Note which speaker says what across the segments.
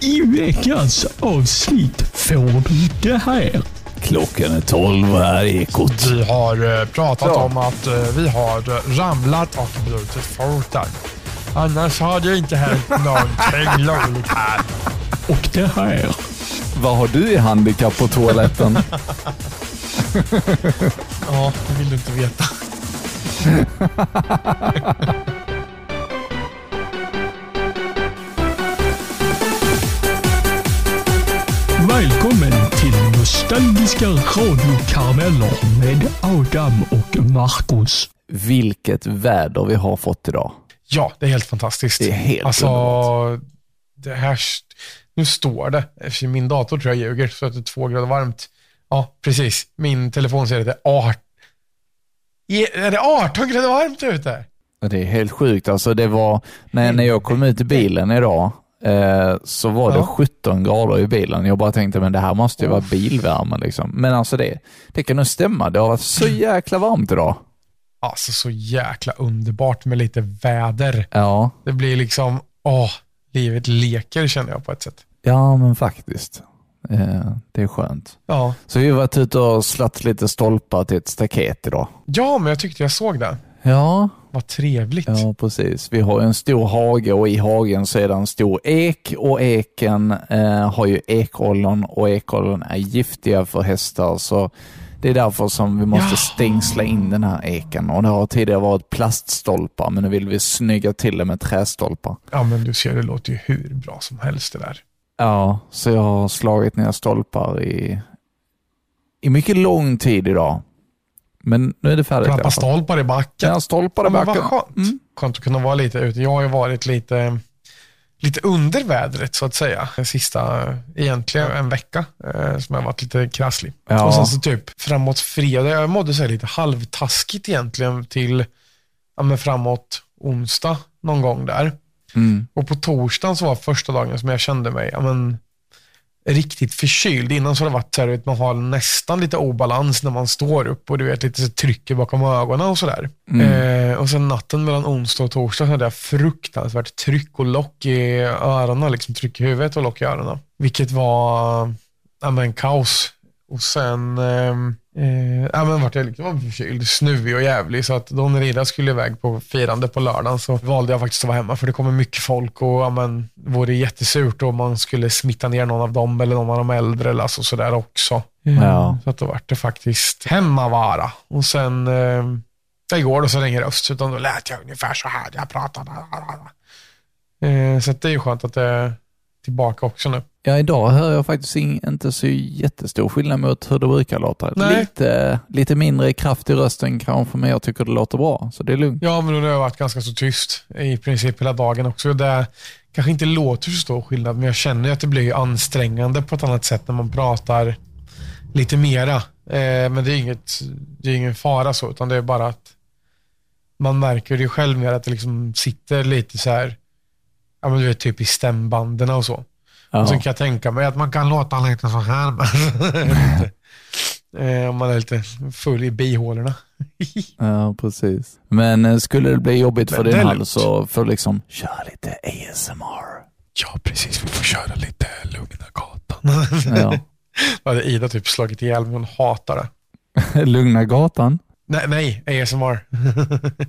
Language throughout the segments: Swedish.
Speaker 1: I veckans avsnitt får du det här.
Speaker 2: Klockan är tolv här i Ekot.
Speaker 3: Vi har eh, pratat
Speaker 2: Ja.
Speaker 3: om att eh, vi har eh, ramlat och brutit foten. Annars har det inte hänt någonting roligt här.
Speaker 1: Och det här.
Speaker 2: Vad har du i handikapp på toaletten?
Speaker 3: Ja, det vill du inte veta.
Speaker 1: Välkommen till Nostalgiska radiokarameller med Adam och Marcus.
Speaker 2: Vilket väder vi har fått idag.
Speaker 3: Ja, det är helt fantastiskt.
Speaker 2: Det är helt
Speaker 3: alltså,
Speaker 2: underbart.
Speaker 3: det här, nu står det, eftersom min dator tror jag ljuger, så att det är två grader varmt. Ja, precis. Min telefon säger att det är 18. E, Är det 18 grader varmt ute?
Speaker 2: Ja, Det är helt sjukt. Alltså det var, när, när jag kom ut i bilen idag eh, så var det
Speaker 3: Ja.
Speaker 2: 17 grader i bilen. Jag bara tänkte men det här måste ju vara bilvärme liksom. Men alltså det, det kan nog stämma. Det har varit så jäkla varmt idag.
Speaker 3: Alltså så jäkla underbart med lite väder.
Speaker 2: Ja,
Speaker 3: Det blir liksom, åh, livet leker känner jag på ett sätt.
Speaker 2: ja men faktiskt. Eh, det är skönt.
Speaker 3: Ja,
Speaker 2: Så vi har varit ute och slatt lite stolpar till ett staket idag.
Speaker 3: ja men jag tyckte jag såg det.
Speaker 2: Ja,
Speaker 3: Vad trevligt.
Speaker 2: Ja, precis. Vi har ju en stor hage och i hagen så är det en stor ek och eken eh, har ju ekollon och ekollon är giftiga för hästar så det är därför som vi måste
Speaker 3: Ja.
Speaker 2: stängsla in den här eken och det har tidigare varit plaststolpar men nu vill vi snygga till det med trästolpar.
Speaker 3: Ja, men du ser, det låter ju hur bra som helst det där.
Speaker 2: Ja, så jag har slagit ner stolpar i, i mycket lång tid idag. Men nu är det färdigt. i alla
Speaker 3: Klappa
Speaker 2: fall.
Speaker 3: stolpar i backen.
Speaker 2: Ja, stolpar i
Speaker 3: Ja, men vad
Speaker 2: backen.
Speaker 3: skönt.
Speaker 2: Mm.
Speaker 3: Skönt att kunna vara lite ute. Jag har ju varit lite, lite under vädret så att säga. Den sista, eh, egentligen en vecka, eh, som jag har varit lite krasslig.
Speaker 2: Ja.
Speaker 3: Och sen så typ framåt fredag, jag mådde så här lite halvtaskigt egentligen till ja, men framåt onsdag någon gång där.
Speaker 2: Mm.
Speaker 3: Och på torsdagen så var första dagen som jag kände mig ja, men, riktigt förkyld. Innan så har det varit så här, att man har nästan lite obalans när man står upp och du vet lite så trycker bakom ögonen och sådär.
Speaker 2: Mm.
Speaker 3: Eh, och sen natten mellan onsdag och torsdag så hade jag fruktansvärt tryck och lock i öronen, liksom tryck i huvudet och lock i öronen. Vilket var ja, men, kaos. Och sen ehm, eh, ja, men vart jag liksom förkyld, snuvig och jävlig. Så att då när Ida skulle iväg på firande på lördagen så valde jag faktiskt att vara hemma för det kommer mycket folk och ja, men, vore jättesurt om man skulle smitta ner någon av dem eller någon av de äldre eller alltså sådär också.
Speaker 2: Ja.
Speaker 3: Så att då vart det faktiskt hemmavara. Och sen eh, igår då så ringer röst, utan då lät jag ungefär så här. Jag pratade. Eh, så att det är ju skönt att det är tillbaka också nu.
Speaker 2: Ja, idag hör jag faktiskt in, inte så jättestor skillnad mot hur det brukar låta.
Speaker 3: Nej.
Speaker 2: Lite, lite mindre kraft i rösten kanske, men jag tycker det låter bra, så det är lugnt.
Speaker 3: Ja, men nu har jag varit ganska så tyst i princip hela dagen också. Det kanske inte låter så stor skillnad, men jag känner ju att det blir ansträngande på ett annat sätt när man pratar lite mera. Eh, men det är, inget, det är ingen fara så, utan det är bara att man märker det själv mer att det liksom sitter lite så här, ja men du vet typ i stämbanden och så.
Speaker 2: Ja.
Speaker 3: Och Sen kan jag tänka mig att man kan låta lite så här. Eh, Om man är lite full i bihålorna.
Speaker 2: ja, precis. Men eh, skulle det bli jobbigt för
Speaker 3: Men
Speaker 2: din
Speaker 3: det är
Speaker 2: hals
Speaker 3: lugnt.
Speaker 2: så får du liksom köra lite ASMR.
Speaker 3: Ja, precis. Vi får köra lite Lugna gatan.
Speaker 2: Ja.
Speaker 3: Då hade Ida typ slagit ihjäl mig. Hon hatar det.
Speaker 2: Lugna gatan?
Speaker 3: Nej, nej ASMR.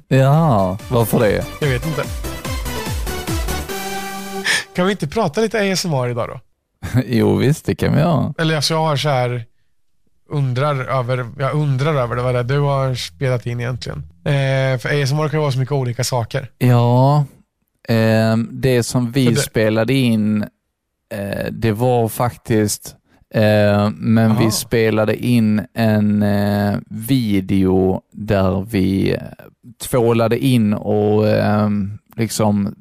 Speaker 2: Ja, varför det?
Speaker 3: Jag vet inte. Kan vi inte prata lite ASMR idag då?
Speaker 2: jo, visst, det kan vi göra.
Speaker 3: Eller alltså jag har så här undrar över, jag undrar över det, vad det är du har spelat in egentligen. Eh, för ASMR kan ju vara så mycket olika saker.
Speaker 2: Ja, ehm, det som vi
Speaker 3: För det-
Speaker 2: spelade in, eh, det var faktiskt, eh, men
Speaker 3: Aha.
Speaker 2: vi spelade in en eh, video där vi eh, tvålade in och ehm, liksom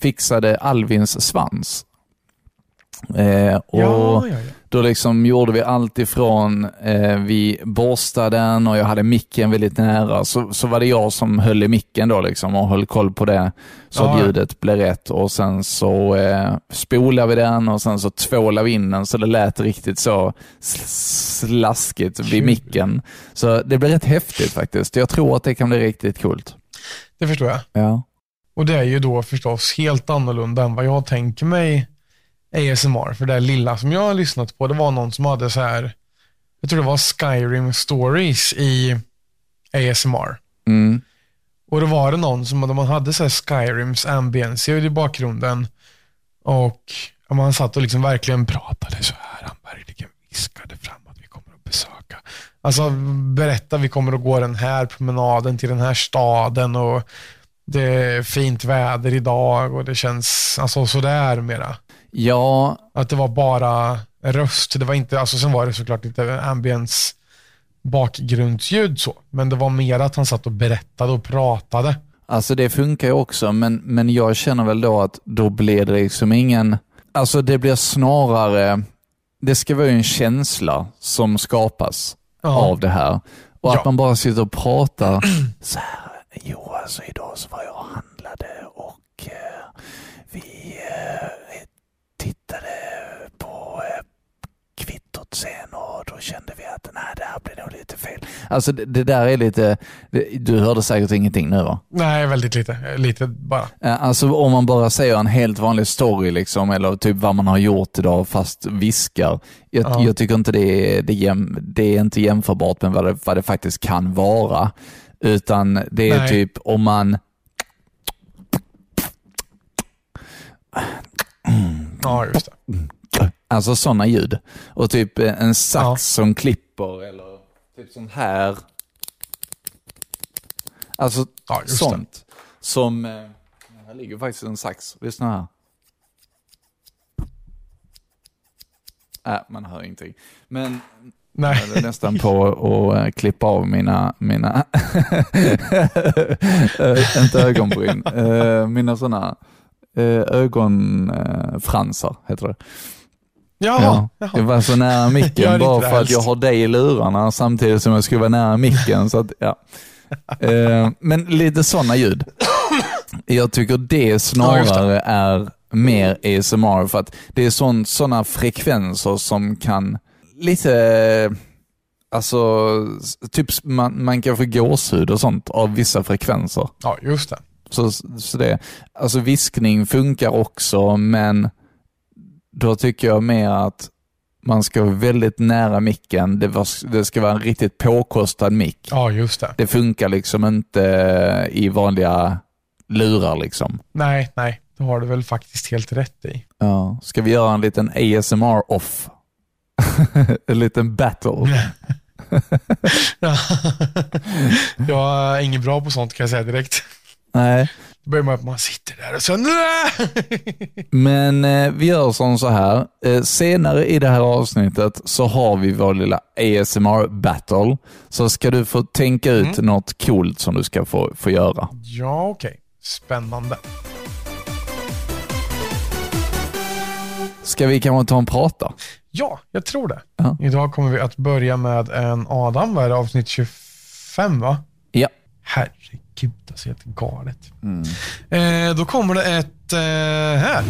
Speaker 2: fixade Alvins svans. Eh, och
Speaker 3: ja, ja, ja.
Speaker 2: då liksom gjorde vi allt ifrån eh, vi borstade den och jag hade micken väldigt nära. Så, så var det jag som höll i micken då liksom och höll koll på det så
Speaker 3: Ja,
Speaker 2: att
Speaker 3: ja.
Speaker 2: ljudet blev rätt. Och Sen så eh, spolade vi den och sen så tvålade vi in den så det lät riktigt så sl- slaskigt vid
Speaker 3: Kul.
Speaker 2: micken. Så det blev rätt häftigt faktiskt. Jag tror att det kan bli riktigt coolt.
Speaker 3: Det förstår jag.
Speaker 2: Ja,
Speaker 3: Och det är ju då förstås helt annorlunda än vad jag tänker mig ASMR, för det där lilla som jag har lyssnat på, det var någon som hade så här, jag tror det var Skyrim Stories i ASMR.
Speaker 2: Mm.
Speaker 3: Och då var det någon som man hade så här Skyrims ambience i bakgrunden. Och ja, man satt och liksom verkligen pratade så här. Han verkligen viskade fram att vi kommer att besöka. Alltså berätta, vi kommer att gå den här promenaden till den här staden och det är fint väder idag och det känns alltså, sådär mera.
Speaker 2: Ja,
Speaker 3: Att det var bara röst. Det var inte, alltså sen var det såklart inte ambience bakgrundsljud så, men det var mer att han satt och berättade och pratade.
Speaker 2: Alltså det funkar ju också, men, men jag känner väl då att då blir det liksom ingen... Alltså det blir snarare... Det ska vara ju en känsla som skapas
Speaker 3: Ja.
Speaker 2: av det här. Och
Speaker 3: Ja.
Speaker 2: att man bara sitter och pratar så här. Jo, alltså idag så var jag och handlade och eh, vi eh, tittade på eh, kvittot sen och då kände vi att nej, det här blev nog lite fel. Alltså det, det där är lite... Det, du hörde säkert ingenting nu va?
Speaker 3: Nej, väldigt lite. Eh, Lite bara.
Speaker 2: Eh, Alltså om man bara säger en helt vanlig story, liksom, eller typ vad man har gjort idag, fast viskar. Jag,
Speaker 3: Ja.
Speaker 2: jag tycker inte det är, det, är jäm, det är inte jämförbart med vad det, vad det faktiskt kan vara. Utan det är
Speaker 3: Nej.
Speaker 2: typ om man...
Speaker 3: Ja, just det.
Speaker 2: Alltså sådana ljud. Och typ eh, en sax som klipper eller typ sånt här. Alltså
Speaker 3: Ja, just det.
Speaker 2: sånt. Som... eh, Här ligger faktiskt en sax. Lyssna här. Äh, man hör ingenting. Men
Speaker 3: Nej.
Speaker 2: jag höll nästan på att eh, klippa av mina, mina eh, inte ögonbryn, eh, mina sådana ögonfransar heter det.
Speaker 3: Jaha. Jaha.
Speaker 2: Jag var så nära
Speaker 3: Gör
Speaker 2: micken
Speaker 3: inte
Speaker 2: bara
Speaker 3: det
Speaker 2: för att
Speaker 3: helst.
Speaker 2: jag har dig i lurarna samtidigt som jag skulle vara nära micken. Så att, ja. Eh, Men lite sådana ljud. Jag tycker det
Speaker 3: Ja,
Speaker 2: snarare är mer ASMR för att det är sådana frekvenser som kan lite, alltså s- typ s- man, man kan få gåshud och sånt av vissa frekvenser.
Speaker 3: Ja, just det.
Speaker 2: Så, så det, alltså viskning funkar också, men då tycker jag mer att man ska vara väldigt nära micken. Det, var, det ska vara en riktigt påkostad mick.
Speaker 3: Ja, just det.
Speaker 2: Det funkar liksom inte i vanliga lurar liksom.
Speaker 3: Nej, nej. Det har du väl faktiskt helt rätt i.
Speaker 2: Ja. Ska vi göra en liten ASMR-off? en liten battle?
Speaker 3: jag är inget bra på sånt kan jag säga direkt.
Speaker 2: Nej.
Speaker 3: Då börjar man att man sitter där och sen...
Speaker 2: Men eh, vi gör som så här. Eh, senare i det här avsnittet så har vi vår lilla ASMR-battle. Så ska du få tänka ut något coolt som du ska få, få göra.
Speaker 3: ja, okej. Spännande.
Speaker 2: Ska vi kanske ta en prata?
Speaker 3: Ja, jag tror det.
Speaker 2: Ja.
Speaker 3: Idag kommer vi att börja med en Adam. Vad är det? Avsnitt 25, va?
Speaker 2: Ja.
Speaker 3: Herregud, alltså helt galet. Eh, då kommer det ett eh, här.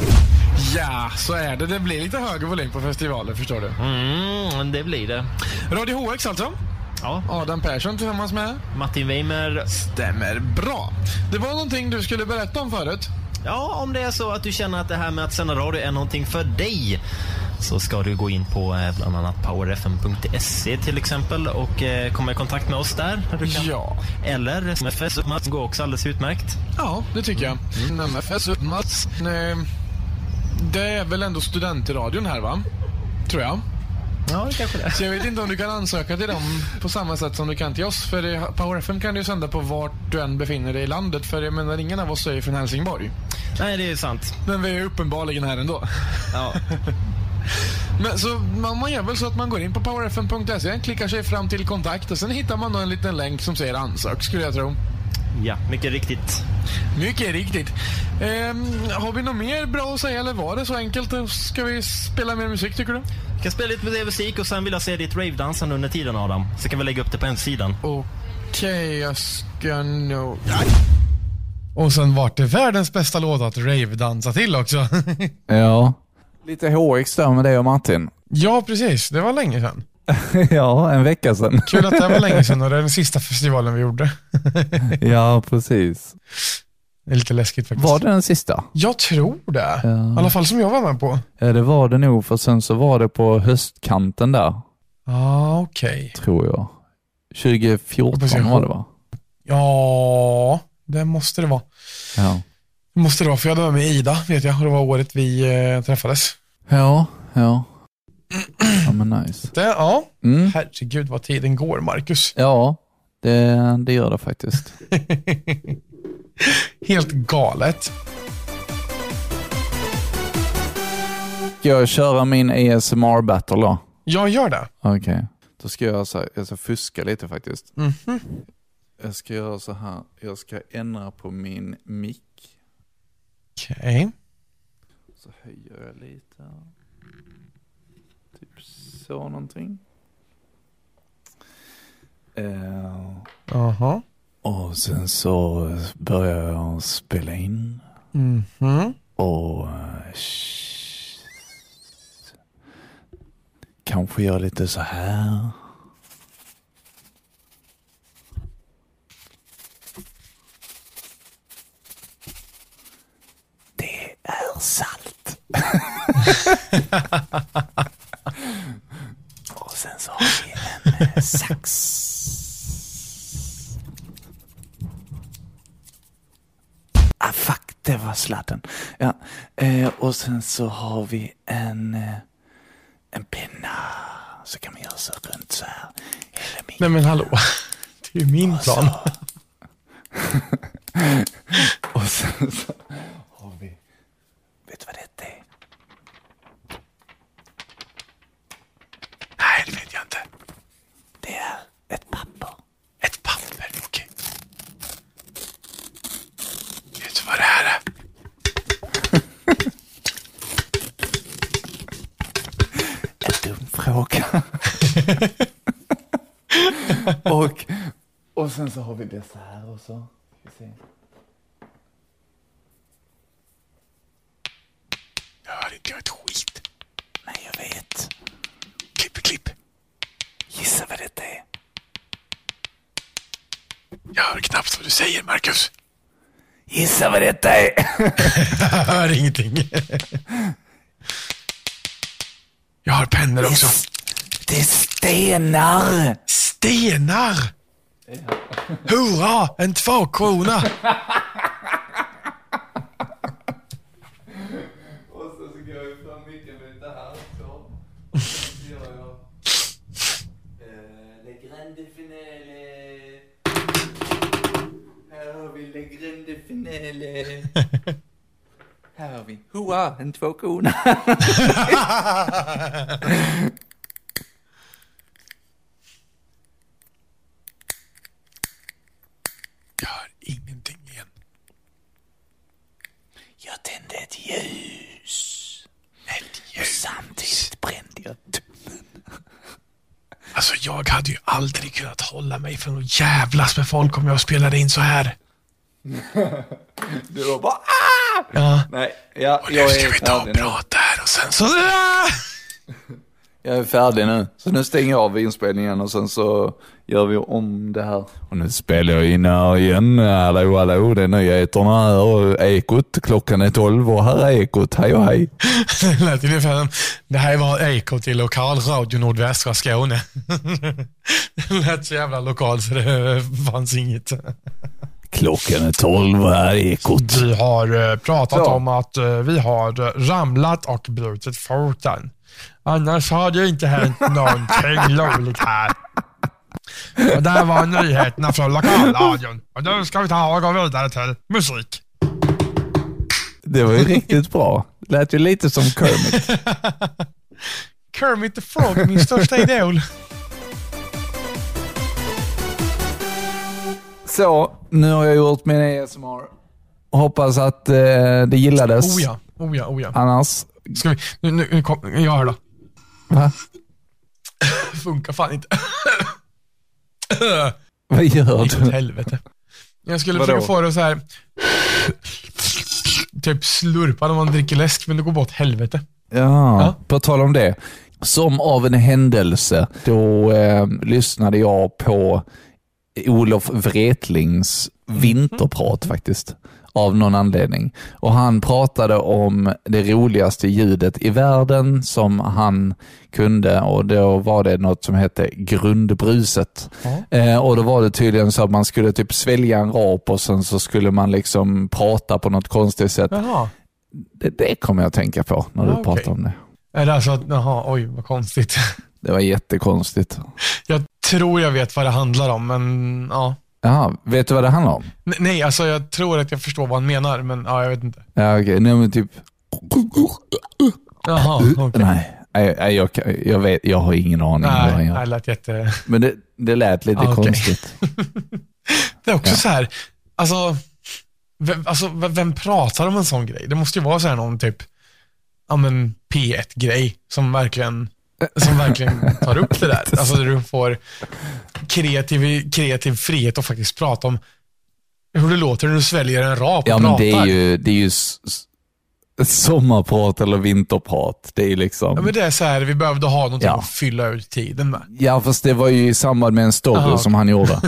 Speaker 3: Ja, så är det. Det blir lite högre volym på festivalen, förstår du.
Speaker 4: Mm, det blir det.
Speaker 3: Radio HX alltså.
Speaker 4: Ja,
Speaker 3: Adam Persson tillsammans med.
Speaker 4: Martin Weimer.
Speaker 3: Stämmer bra. Det var någonting du skulle berätta om förut.
Speaker 4: Ja, om det är så att du känner att det här med att sända radio är någonting för dig så ska du gå in på eh, bland annat powerfm.se till exempel och eh, komma i kontakt med oss där. när Du kan.
Speaker 3: Ja.
Speaker 4: Eller MFS och Mats går också alldeles utmärkt.
Speaker 3: Ja, det tycker jag. Mm. MFS Mats. Nej, det är väl ändå studentradion här, va? Tror jag.
Speaker 4: Ja, det kanske det.
Speaker 3: Så jag vet inte om du kan ansöka till dem på samma sätt som du kan till oss. För det- Power FM kan du ju sända på vart du än befinner dig i landet. För jag menar, ingen av oss är ju från Helsingborg.
Speaker 4: Nej, det är sant.
Speaker 3: Men vi är ju uppenbarligen här ändå.
Speaker 4: Ja.
Speaker 3: Men, så man, man gör väl så att man går in på powerfm.se, klickar sig fram till kontakt och sen hittar man då en liten länk som säger ansök, skulle jag tro.
Speaker 4: ja, mycket riktigt.
Speaker 3: Mycket riktigt. Ehm, har vi något mer bra att säga eller var det så enkelt? Ska vi spela mer musik tycker du?
Speaker 4: Jag kan spela lite med musik och sen vill jag se ditt ravedansande under tiden Adam. Så kan vi lägga upp det på hemsidan.
Speaker 3: Okej, jag ska nog... Och sen vart det världens bästa låt att rave-dansa till också.
Speaker 2: Ja. Lite HX där med dig och Martin.
Speaker 3: ja, precis. Det var länge sedan.
Speaker 2: ja, en vecka sedan.
Speaker 3: Kul att det var länge sedan och det är den sista festivalen vi gjorde.
Speaker 2: ja, precis.
Speaker 3: Det är lite läskigt faktiskt. Mm.
Speaker 2: Var det den sista?
Speaker 3: Jag tror det.
Speaker 2: Ja.
Speaker 3: I alla fall som jag var med på.
Speaker 2: Ja, det var det nog, för sen så var det på höstkanten där,
Speaker 3: Ja, ah, okej.
Speaker 2: tror jag. 2014 var det va?
Speaker 3: Ja, det måste det vara.
Speaker 2: Ja.
Speaker 3: Det måste det vara, för jag hade med mig Ida, vet jag. Och det var året vi eh, träffades.
Speaker 2: Ja, ja. Ja, men nice.
Speaker 3: Det, ja,
Speaker 2: Mm.
Speaker 3: herregud vad tiden går, Marcus.
Speaker 2: Ja, det, det gör det faktiskt.
Speaker 3: Helt galet.
Speaker 2: Ska jag köra min E ASMR-battle då?
Speaker 3: Jag gör det.
Speaker 2: Okej. Då ska jag, så här, jag ska fuska lite faktiskt.
Speaker 3: Mhm.
Speaker 2: Jag ska göra så här. Jag ska ändra på min mick.
Speaker 3: Okej.
Speaker 2: Så höjer jag lite. Typ så någonting. Eh,
Speaker 3: Jaha.
Speaker 2: och sen så börjar jag spela in.
Speaker 3: Mhm.
Speaker 2: Och eh, sh- kanske gör lite så här. Det är salt. Och sen så har vi en eh, sax. Ah fuck, det var sladden. Ja. Eh, och sen så har vi en, eh, en pinna. Så kan man göra så runt så här. Hela min
Speaker 3: Nej men hallå. Det är ju min
Speaker 2: Alltså.
Speaker 3: plan.
Speaker 2: och sen så har vi... Vet du vad det är?
Speaker 3: Nej, det vet jag inte.
Speaker 2: Det är ett papper.
Speaker 3: Ett papper. Okej. Vet du vad det här är?
Speaker 2: En dum fråga. och, och sen så har vi det så här och så. Ska vi se.
Speaker 3: Jag hör inte, jag ett skit.
Speaker 2: Nej, jag vet.
Speaker 3: Klipp, klipp.
Speaker 2: Gissa vad det är.
Speaker 3: Jag hör knappt vad du säger, Marcus.
Speaker 2: Gissa vad det är.
Speaker 3: Jag hör ingenting. Jag har pennor också.
Speaker 2: Det är stenar.
Speaker 3: Stenar! Hurra, en tvåkrona!
Speaker 2: Och sen så går jag fram micken lite här så. Så gör jag... Eh, Le Grande Finale. Här har vi Le Grande Finale. Här har vi Hoa, en tvåkrona.
Speaker 3: Jag hör ingenting igen.
Speaker 2: Jag tände ett ljus.
Speaker 3: Ett ljus.
Speaker 2: Samtidigt brände jag tummen.
Speaker 3: Alltså jag hade ju aldrig kunnat hålla mig från att jävlas med folk om jag spelade in så här.
Speaker 2: Du var bara ah!
Speaker 3: Ja.
Speaker 2: Nej, ja,
Speaker 3: Och nu
Speaker 2: jag
Speaker 3: ska
Speaker 2: är
Speaker 3: vi ta
Speaker 2: färdig
Speaker 3: och
Speaker 2: nu.
Speaker 3: prata här och sen så... Ah!
Speaker 2: Jag är färdig nu. Så nu stänger jag av inspelningen och sen så gör vi om det här. Och nu spelar jag in här igen. Hallå, hallå, det är nyheterna här och Ekot. Klockan är tolv och här är Ekot. Hej och hej.
Speaker 3: Det lät ju ungefär som, det här var Ekot i lokalradio nordvästra Skåne. Det lät så jävla lokalt så det fanns inget.
Speaker 2: Klockan är tolv och här är Ekot.
Speaker 3: Vi har eh, pratat
Speaker 2: Så.
Speaker 3: om att eh, vi har eh, ramlat och brutit foten. Annars har det inte hänt någonting roligt här. Och där var nyheterna från lokalradion. Och nu ska vi ta och gå vidare till musik.
Speaker 2: Det var ju riktigt bra. Lät ju lite som Kermit.
Speaker 3: Kermit the Frog, min största idol.
Speaker 2: Så, nu har jag gjort min ASMR. Hoppas att eh, det gillades.
Speaker 3: Oh ja, oh ja, oh ja.
Speaker 2: Annars...
Speaker 3: Ska vi, nu, nu, nu kom, jag hör då.
Speaker 2: Va?
Speaker 3: Funkar fan inte.
Speaker 2: Vad gör
Speaker 3: Åt
Speaker 2: du?
Speaker 3: helvete. Jag skulle
Speaker 2: Vadå?
Speaker 3: försöka få det så här. Typ slurpa när man dricker läsk, men det går bara åt helvete.
Speaker 2: Ja,
Speaker 3: Ja.
Speaker 2: på tal om det. Som av en händelse, då eh, lyssnade
Speaker 3: Mhm.
Speaker 2: jag på Olof Wretlings vinterprat faktiskt. av någon anledning. Och han pratade om det roligaste ljudet i världen som han kunde och då var det något som hette grundbruset. Eh, och då var det tydligen så att man skulle typ svälja en rap och sen så skulle man liksom prata på något konstigt sätt.
Speaker 3: Jaha.
Speaker 2: Det, det kommer jag att tänka på när du
Speaker 3: Ja, okej.
Speaker 2: pratar om det.
Speaker 3: Är det alltså att, jaha, oj vad konstigt.
Speaker 2: Det var jättekonstigt.
Speaker 3: Jag tror jag vet vad det handlar om, men ja.
Speaker 2: Jaha, vet du vad det handlar om?
Speaker 3: N- Nej, alltså jag tror att jag förstår vad han menar, men ja, jag vet inte.
Speaker 2: Ja, okej. Nej, men typ...
Speaker 3: Jaha, okej.
Speaker 2: Nej, nej, nej, jag, kan- jag, vet, jag har ingen aning. om vad han
Speaker 3: Nej,
Speaker 2: gör.
Speaker 3: det lät jätte...
Speaker 2: Men det, det lät lite
Speaker 3: Ah, okej.
Speaker 2: konstigt.
Speaker 3: Det är också
Speaker 2: Ja.
Speaker 3: så här, alltså vem, alltså, v- vem pratar om en sån grej? Det måste ju vara så här någon typ, ja men P1-grej som verkligen, som verkligen tar upp det där. Alltså där du får kreativ, kreativ frihet att faktiskt prata om hur det låter när du sväljer en rap och
Speaker 2: Ja, men
Speaker 3: pratar.
Speaker 2: det är ju, det är ju s- s- sommarprat eller vinterprat. Det är ju liksom...
Speaker 3: Ja, men det är så här, vi behövde ha någonting
Speaker 2: Ja.
Speaker 3: att fylla ut tiden med.
Speaker 2: Ja, fast det var ju i samband med en story
Speaker 3: Aha.
Speaker 2: som han gjorde.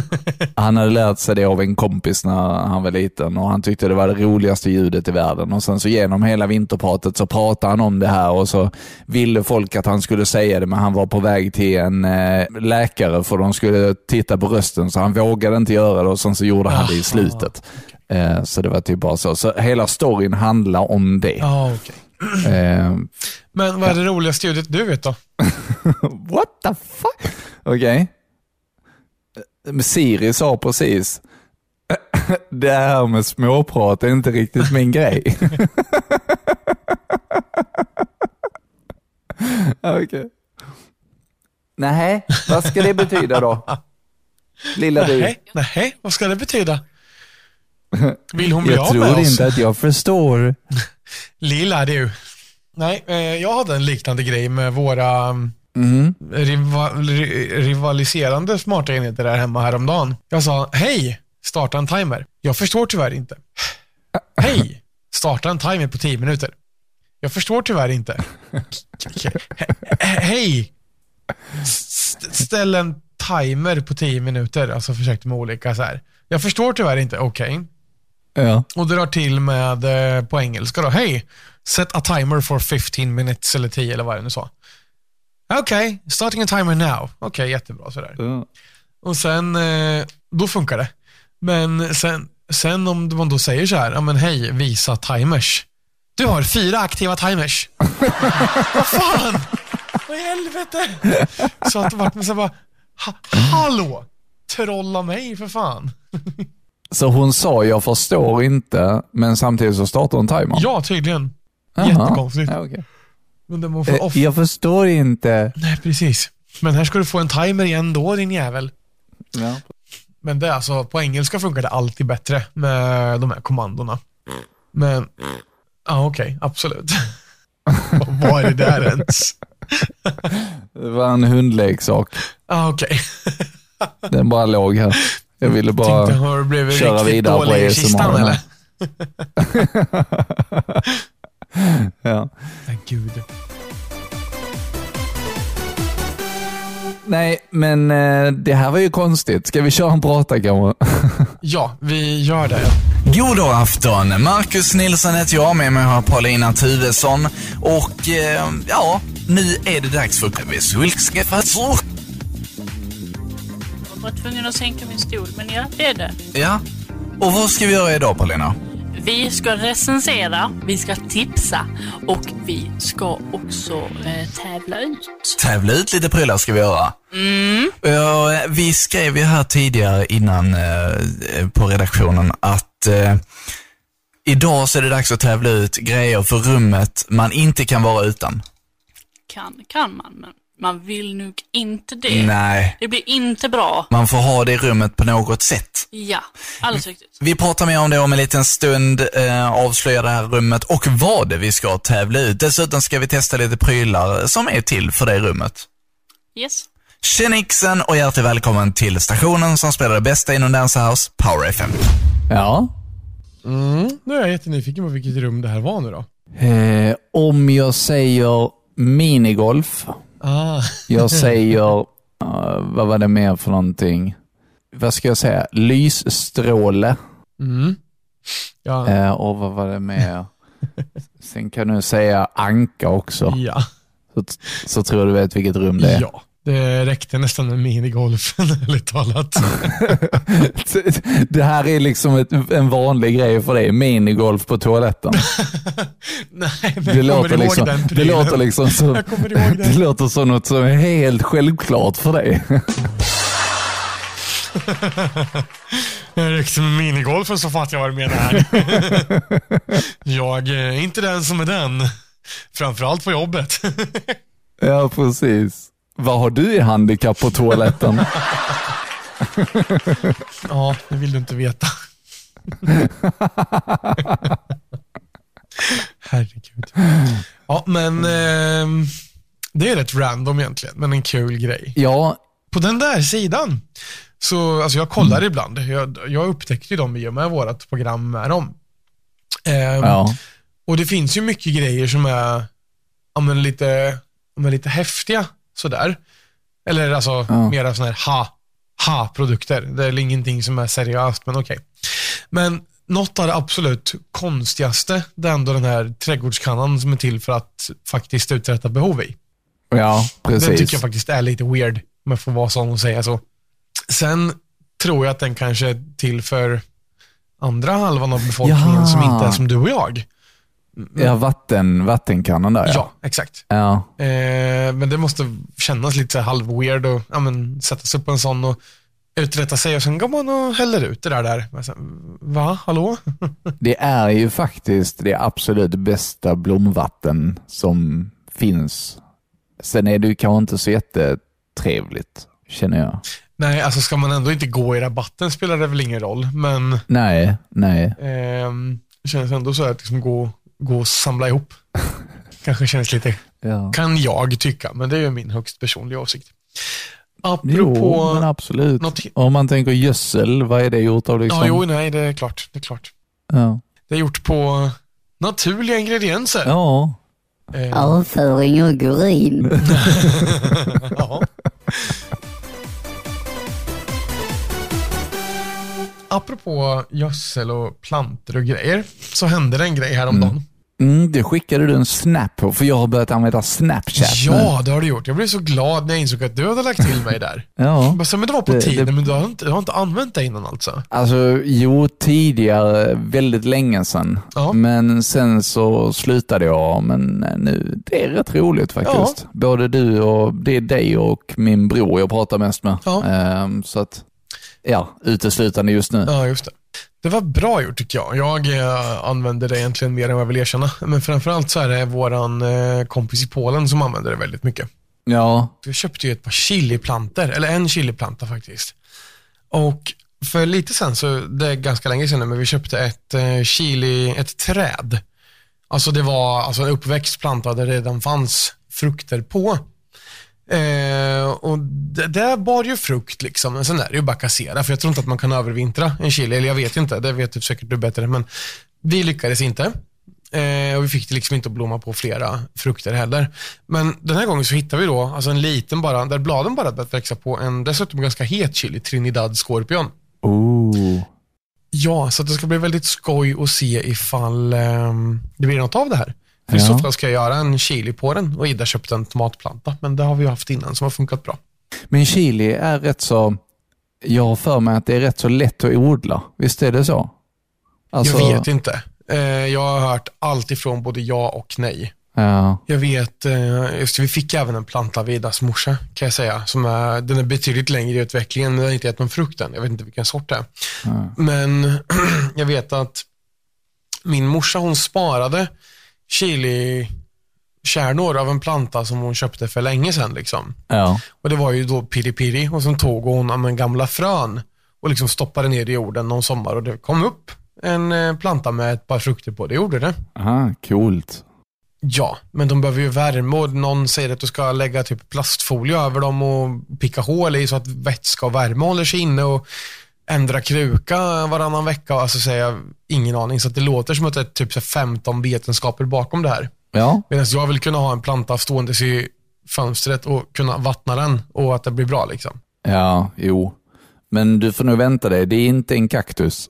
Speaker 2: Han hade lärt sig det av en kompis när han var liten och han tyckte det var det roligaste ljudet i världen. Och Sen så genom hela vinterpratet så pratade han om det här och så ville folk att han skulle säga det, men han var på väg till en eh, läkare för de skulle titta på rösten, så han vågade inte göra det och sen så gjorde han det i slutet. Eh, Så det var typ bara så. Så hela storyn handlar om det.
Speaker 3: Ja, okej.
Speaker 2: Eh,
Speaker 3: Men vad är det roligaste ljudet du vet då?
Speaker 2: What the fuck? Okej. Eh, Siri sa precis, det här med småprat är inte riktigt min grej. Okej. Nej, vad ska det betyda då? Lilla du.
Speaker 3: Nej, nej, vad ska det betyda? Vill hon bli
Speaker 2: Jag
Speaker 3: av med
Speaker 2: tror
Speaker 3: oss?
Speaker 2: inte att jag förstår.
Speaker 3: Lilla du. Nej, eh, jag hade en liknande grej med våra mm, riva, ri, rivaliserande smarta enheter där hemma häromdagen. Jag sa, hej, starta en timer. Jag förstår tyvärr inte. Hej, starta en timer på 10 minuter. Jag förstår tyvärr inte. He- he- Hej, s- ställ en timer på 10 minuter. Alltså försökte med olika så här. Jag förstår tyvärr inte. Okej.
Speaker 2: Ja.
Speaker 3: Och drar till med eh, på engelska då. Hej, set a timer for 15 minutes eller 10 eller vad det nu sa. Okej, starting a timer now. Okej, jättebra sådär. Och sen, eh, då funkar det. Men sen, sen om man då säger så här, ja men hej, visa timers. Du har fyra aktiva timers. Vad fan? Vad i helvete? Så att det vart med så här bara, ha, hallå, trolla mig för fan.
Speaker 2: Så hon sa jag förstår inte, men samtidigt så startade hon timern.
Speaker 3: Ja, tydligen.
Speaker 2: Jaha.
Speaker 3: jättekonstigt.
Speaker 2: Ja, okej.
Speaker 3: Men det var för
Speaker 2: Eh,
Speaker 3: off.
Speaker 2: Jag förstår inte.
Speaker 3: Nej, precis. Men här ska du få en timer igen då, din jävel. Men det är alltså, på engelska funkar det alltid bättre med de här kommandona. Men, ja okej, absolut. Vad var det där ens? Ja
Speaker 2: Det var en hundleksak.
Speaker 3: okej.
Speaker 2: Den bara låg här. Jag ville
Speaker 3: Tänkte
Speaker 2: bara
Speaker 3: har du blivit
Speaker 2: köra
Speaker 3: riktigt
Speaker 2: vidare på E
Speaker 3: dålig i kistan
Speaker 2: ASMR.
Speaker 3: eller?
Speaker 2: ja.
Speaker 3: Nej, gud.
Speaker 2: Nej, men eh, det här var ju konstigt. Ska vi köra en prata kanske?
Speaker 3: Ja, vi gör det.
Speaker 2: God dag, afton! Marcus Nilsson heter jag, med mig har jag Paulina Tuvesson. Och eh, ja, nu är det dags för KBs Hultskaffat.
Speaker 5: Jag var tvungen att sänka min stol, men ja, det är det.
Speaker 2: Ja, och vad ska vi göra idag Paulina?
Speaker 5: Vi ska recensera, vi ska tipsa och vi ska också eh, tävla ut.
Speaker 2: Tävla ut lite prylar ska vi göra. Ja, vi skrev ju här tidigare innan eh, på redaktionen att eh, idag så är det dags att tävla ut grejer för rummet man inte kan vara utan.
Speaker 5: Kan, kan man, men man vill nog inte det.
Speaker 2: Nej,
Speaker 5: Det blir inte bra.
Speaker 2: man får ha det i rummet på något sätt.
Speaker 5: Ja, alldeles riktigt.
Speaker 2: Vi pratar mer om det om en liten stund, eh, avslöja det här rummet och vad det vi ska tävla ut. Dessutom ska vi testa lite prylar som är till för det rummet.
Speaker 5: Yes.
Speaker 6: Tjenixen och hjärtligt välkommen till stationen som spelar det bästa inom Dance House, Power FM.
Speaker 2: Ja,
Speaker 3: Mm. Nu är jag jättenyfiken på vilket rum det här var nu då.
Speaker 2: Eh, om jag säger minigolf,
Speaker 3: Ah,
Speaker 2: jag säger, eh, vad var det mer för någonting? Vad ska jag säga? Lysstråle.
Speaker 3: mm. Ja.
Speaker 6: Eh, och vad var det med? Sen kan du säga anka också,
Speaker 3: Ja.
Speaker 6: så, så tror jag du vet vilket rum det är.
Speaker 3: ja. Det räckte nästan med minigolfen, ärligt talat.
Speaker 6: Det här är liksom ett, en vanlig grej för dig, minigolf på toaletten.
Speaker 3: Nej, men
Speaker 6: Det
Speaker 3: jag
Speaker 6: låter,
Speaker 3: kommer ihåg
Speaker 6: liksom,
Speaker 3: den
Speaker 6: det
Speaker 3: prylen.
Speaker 6: låter liksom som,
Speaker 3: Jag kommer ihåg den.
Speaker 6: det låter som något som är helt självklart för dig.
Speaker 3: Det räckte med liksom minigolfen så fattar jag vad du menar här. jag är inte den som är den. Framförallt på jobbet.
Speaker 6: Ja, precis. Vad har du i handikapp på toaletten?
Speaker 3: ja, det vill du inte veta. Herregud. Ja, men ehm, det är rätt random egentligen, men en kul grej.
Speaker 6: Ja,
Speaker 3: På den där sidan, så, alltså jag kollar ibland. Jag, jag upptäckte ju dem i och med vårt program med dem. Ehm,
Speaker 6: ja.
Speaker 3: Och det finns ju mycket grejer som är ja, men lite, ja, men lite häftiga sådär. Eller alltså
Speaker 6: Ja.
Speaker 3: mera sådana här ha, ha-produkter. Det är ingenting som är seriöst, men okej. Men något av det absolut konstigaste, det är ändå den här trädgårdskannan som är till för att faktiskt uträtta behov i.
Speaker 6: ja
Speaker 3: Den tycker jag
Speaker 6: precis.
Speaker 3: faktiskt är lite weird, om jag får vara sån och säga så. Sen tror jag att den kanske är till för andra halvan av befolkningen
Speaker 6: Ja.
Speaker 3: som inte är som du och jag.
Speaker 6: Ja, vatten, vattenkannan där ja.
Speaker 3: Ja, exakt.
Speaker 6: ja.
Speaker 3: Eh, men det måste kännas lite så här halv-weird och ja, men, sätta sig på en sån och uträtta sig och sen går man och häller ut det där. där. Men sen, Va? Hallå?
Speaker 6: Det är ju faktiskt det absolut bästa blomvatten som finns. Sen är det ju kanske inte så jättetrevligt, känner jag.
Speaker 3: Nej, alltså ska man ändå inte gå i rabatten spelar det väl ingen roll, men
Speaker 6: Nej, nej.
Speaker 3: ehm, det känns ändå så här att liksom gå, gå och samla ihop. Kanske känns lite,
Speaker 6: Ja.
Speaker 3: kan jag tycka, men det är ju min högst personliga åsikt.
Speaker 6: Jo,
Speaker 3: Apropå...
Speaker 6: men alltså, absolut.
Speaker 3: något-
Speaker 6: Om man tänker gödsel, vad är det gjort av? Liksom?
Speaker 3: ja, jo, nej, det är klart. Det är klart.
Speaker 6: ja.
Speaker 3: Det är gjort på naturliga ingredienser.
Speaker 6: ja.
Speaker 3: Eh,
Speaker 7: Avföring och urin.
Speaker 3: Ja. Apropå gödsel och planter och grejer, så hände det en grej häromdagen.
Speaker 6: Mm, det skickade du en snap på, för jag har börjat använda Snapchat
Speaker 3: Ja, det har du gjort. Jag blev så glad när jag insåg att du hade lagt till mig där.
Speaker 6: nu. Ja.
Speaker 3: Bara så, men det var på
Speaker 6: Det-
Speaker 3: tiden,
Speaker 6: det-
Speaker 3: men du har, inte, du har inte använt det innan alltså?
Speaker 6: Alltså, jo, tidigare, väldigt länge sedan.
Speaker 3: Ja.
Speaker 6: Men sen så slutade jag, men eh, nu, det är rätt roligt faktiskt. Både du och, det är dig och min bror jag pratar mest med.
Speaker 3: Ja.
Speaker 6: Ehm, så att, ja, uteslutande just nu.
Speaker 3: Ja, just det. Det var bra gjort tycker jag. Jag eh, använder det egentligen mer än vad jag vill erkänna. Men framförallt så är det våran eh, kompis i Polen som använder det väldigt mycket.
Speaker 6: Ja,
Speaker 3: Jag köpte ju ett par chiliplantor, eller en chiliplanta faktiskt. Och för lite sen, så det är ganska länge sedan, men vi köpte ett eh, chili, ett träd. Alltså det var alltså en uppväxt planta där det redan fanns frukter på. Eh, och det, det bar ju frukt liksom, men sen är det ju bara kassera, för jag tror inte att man kan övervintra en chili, eller jag vet inte, det vet du säkert du bättre, men vi lyckades inte. Eh, och vi fick det liksom inte att blomma på flera frukter heller. Men den här gången så hittade vi då alltså en liten bara, där bladen bara börjat växa på en dessutom ganska het chili, Trinidad Scorpion.
Speaker 6: Ooh.
Speaker 3: Ja, så att det ska bli väldigt skoj att se ifall ehm, det blir något av det här. För I
Speaker 6: Ja.
Speaker 3: så fall ska jag göra en chili på den och Ida köpte en tomatplanta, men det har vi ju haft innan som har funkat bra.
Speaker 6: Men chili är rätt så, jag har för mig att det är rätt så lätt att odla. Visst är det så? Alltså,
Speaker 3: jag vet inte. Eh, jag har hört allt ifrån både ja och nej.
Speaker 6: Ja,
Speaker 3: Jag vet, eh, just det, vi fick även en planta av Idas morsa kan jag säga. Som är, den är betydligt längre i utvecklingen, den har inte gett någon frukt än. Jag vet inte vilken sort det är. Men jag vet att min morsa hon sparade chilikärnor av en planta som hon köpte för länge sedan. Liksom.
Speaker 6: ja.
Speaker 3: Och det var ju då piripiri och sen tog hon ja, men, gamla frön och liksom stoppade ner i jorden någon sommar och det kom upp en eh, planta med ett par frukter på. Det gjorde det.
Speaker 6: Aha, coolt.
Speaker 3: Ja, men de behöver ju värme och någon säger att du ska lägga typ plastfolie över dem och picka hål i så att vätska och värme håller sig inne och ändra kruka varannan vecka. Alltså säger jag ingen aning. Så att det låter som att det är typ så här 15 vetenskaper bakom det här.
Speaker 6: Ja,
Speaker 3: Medan jag vill kunna ha en planta stående i fönstret och kunna vattna den och att det blir bra liksom.
Speaker 6: ja, jo. Men du får nog vänta dig, det är inte en kaktus.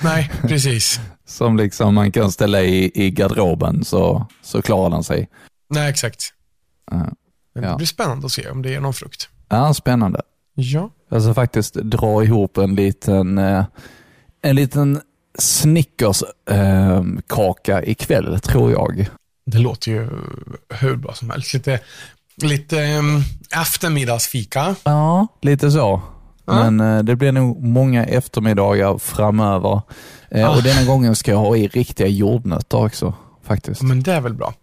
Speaker 3: Nej, precis.
Speaker 2: Som liksom man kan ställa i, i garderoben så, så klarar den sig.
Speaker 3: Nej, exakt.
Speaker 2: Ja.
Speaker 3: Men Det blir spännande att se om det är någon frukt.
Speaker 2: Ja, spännande.
Speaker 3: Ja.
Speaker 2: Jag ska faktiskt dra ihop en liten, eh, en liten Snickers-kaka eh, kaka ikväll, tror jag.
Speaker 3: Det låter ju hur bra som helst. Lite, lite ehm, eftermiddagsfika.
Speaker 2: Ja, lite så. Men eh, det blir nog många eftermiddagar framöver. Eh,
Speaker 3: Ah.
Speaker 2: Och denna gången ska jag ha i riktiga jordnötter också, faktiskt.
Speaker 3: Men det är väl bra.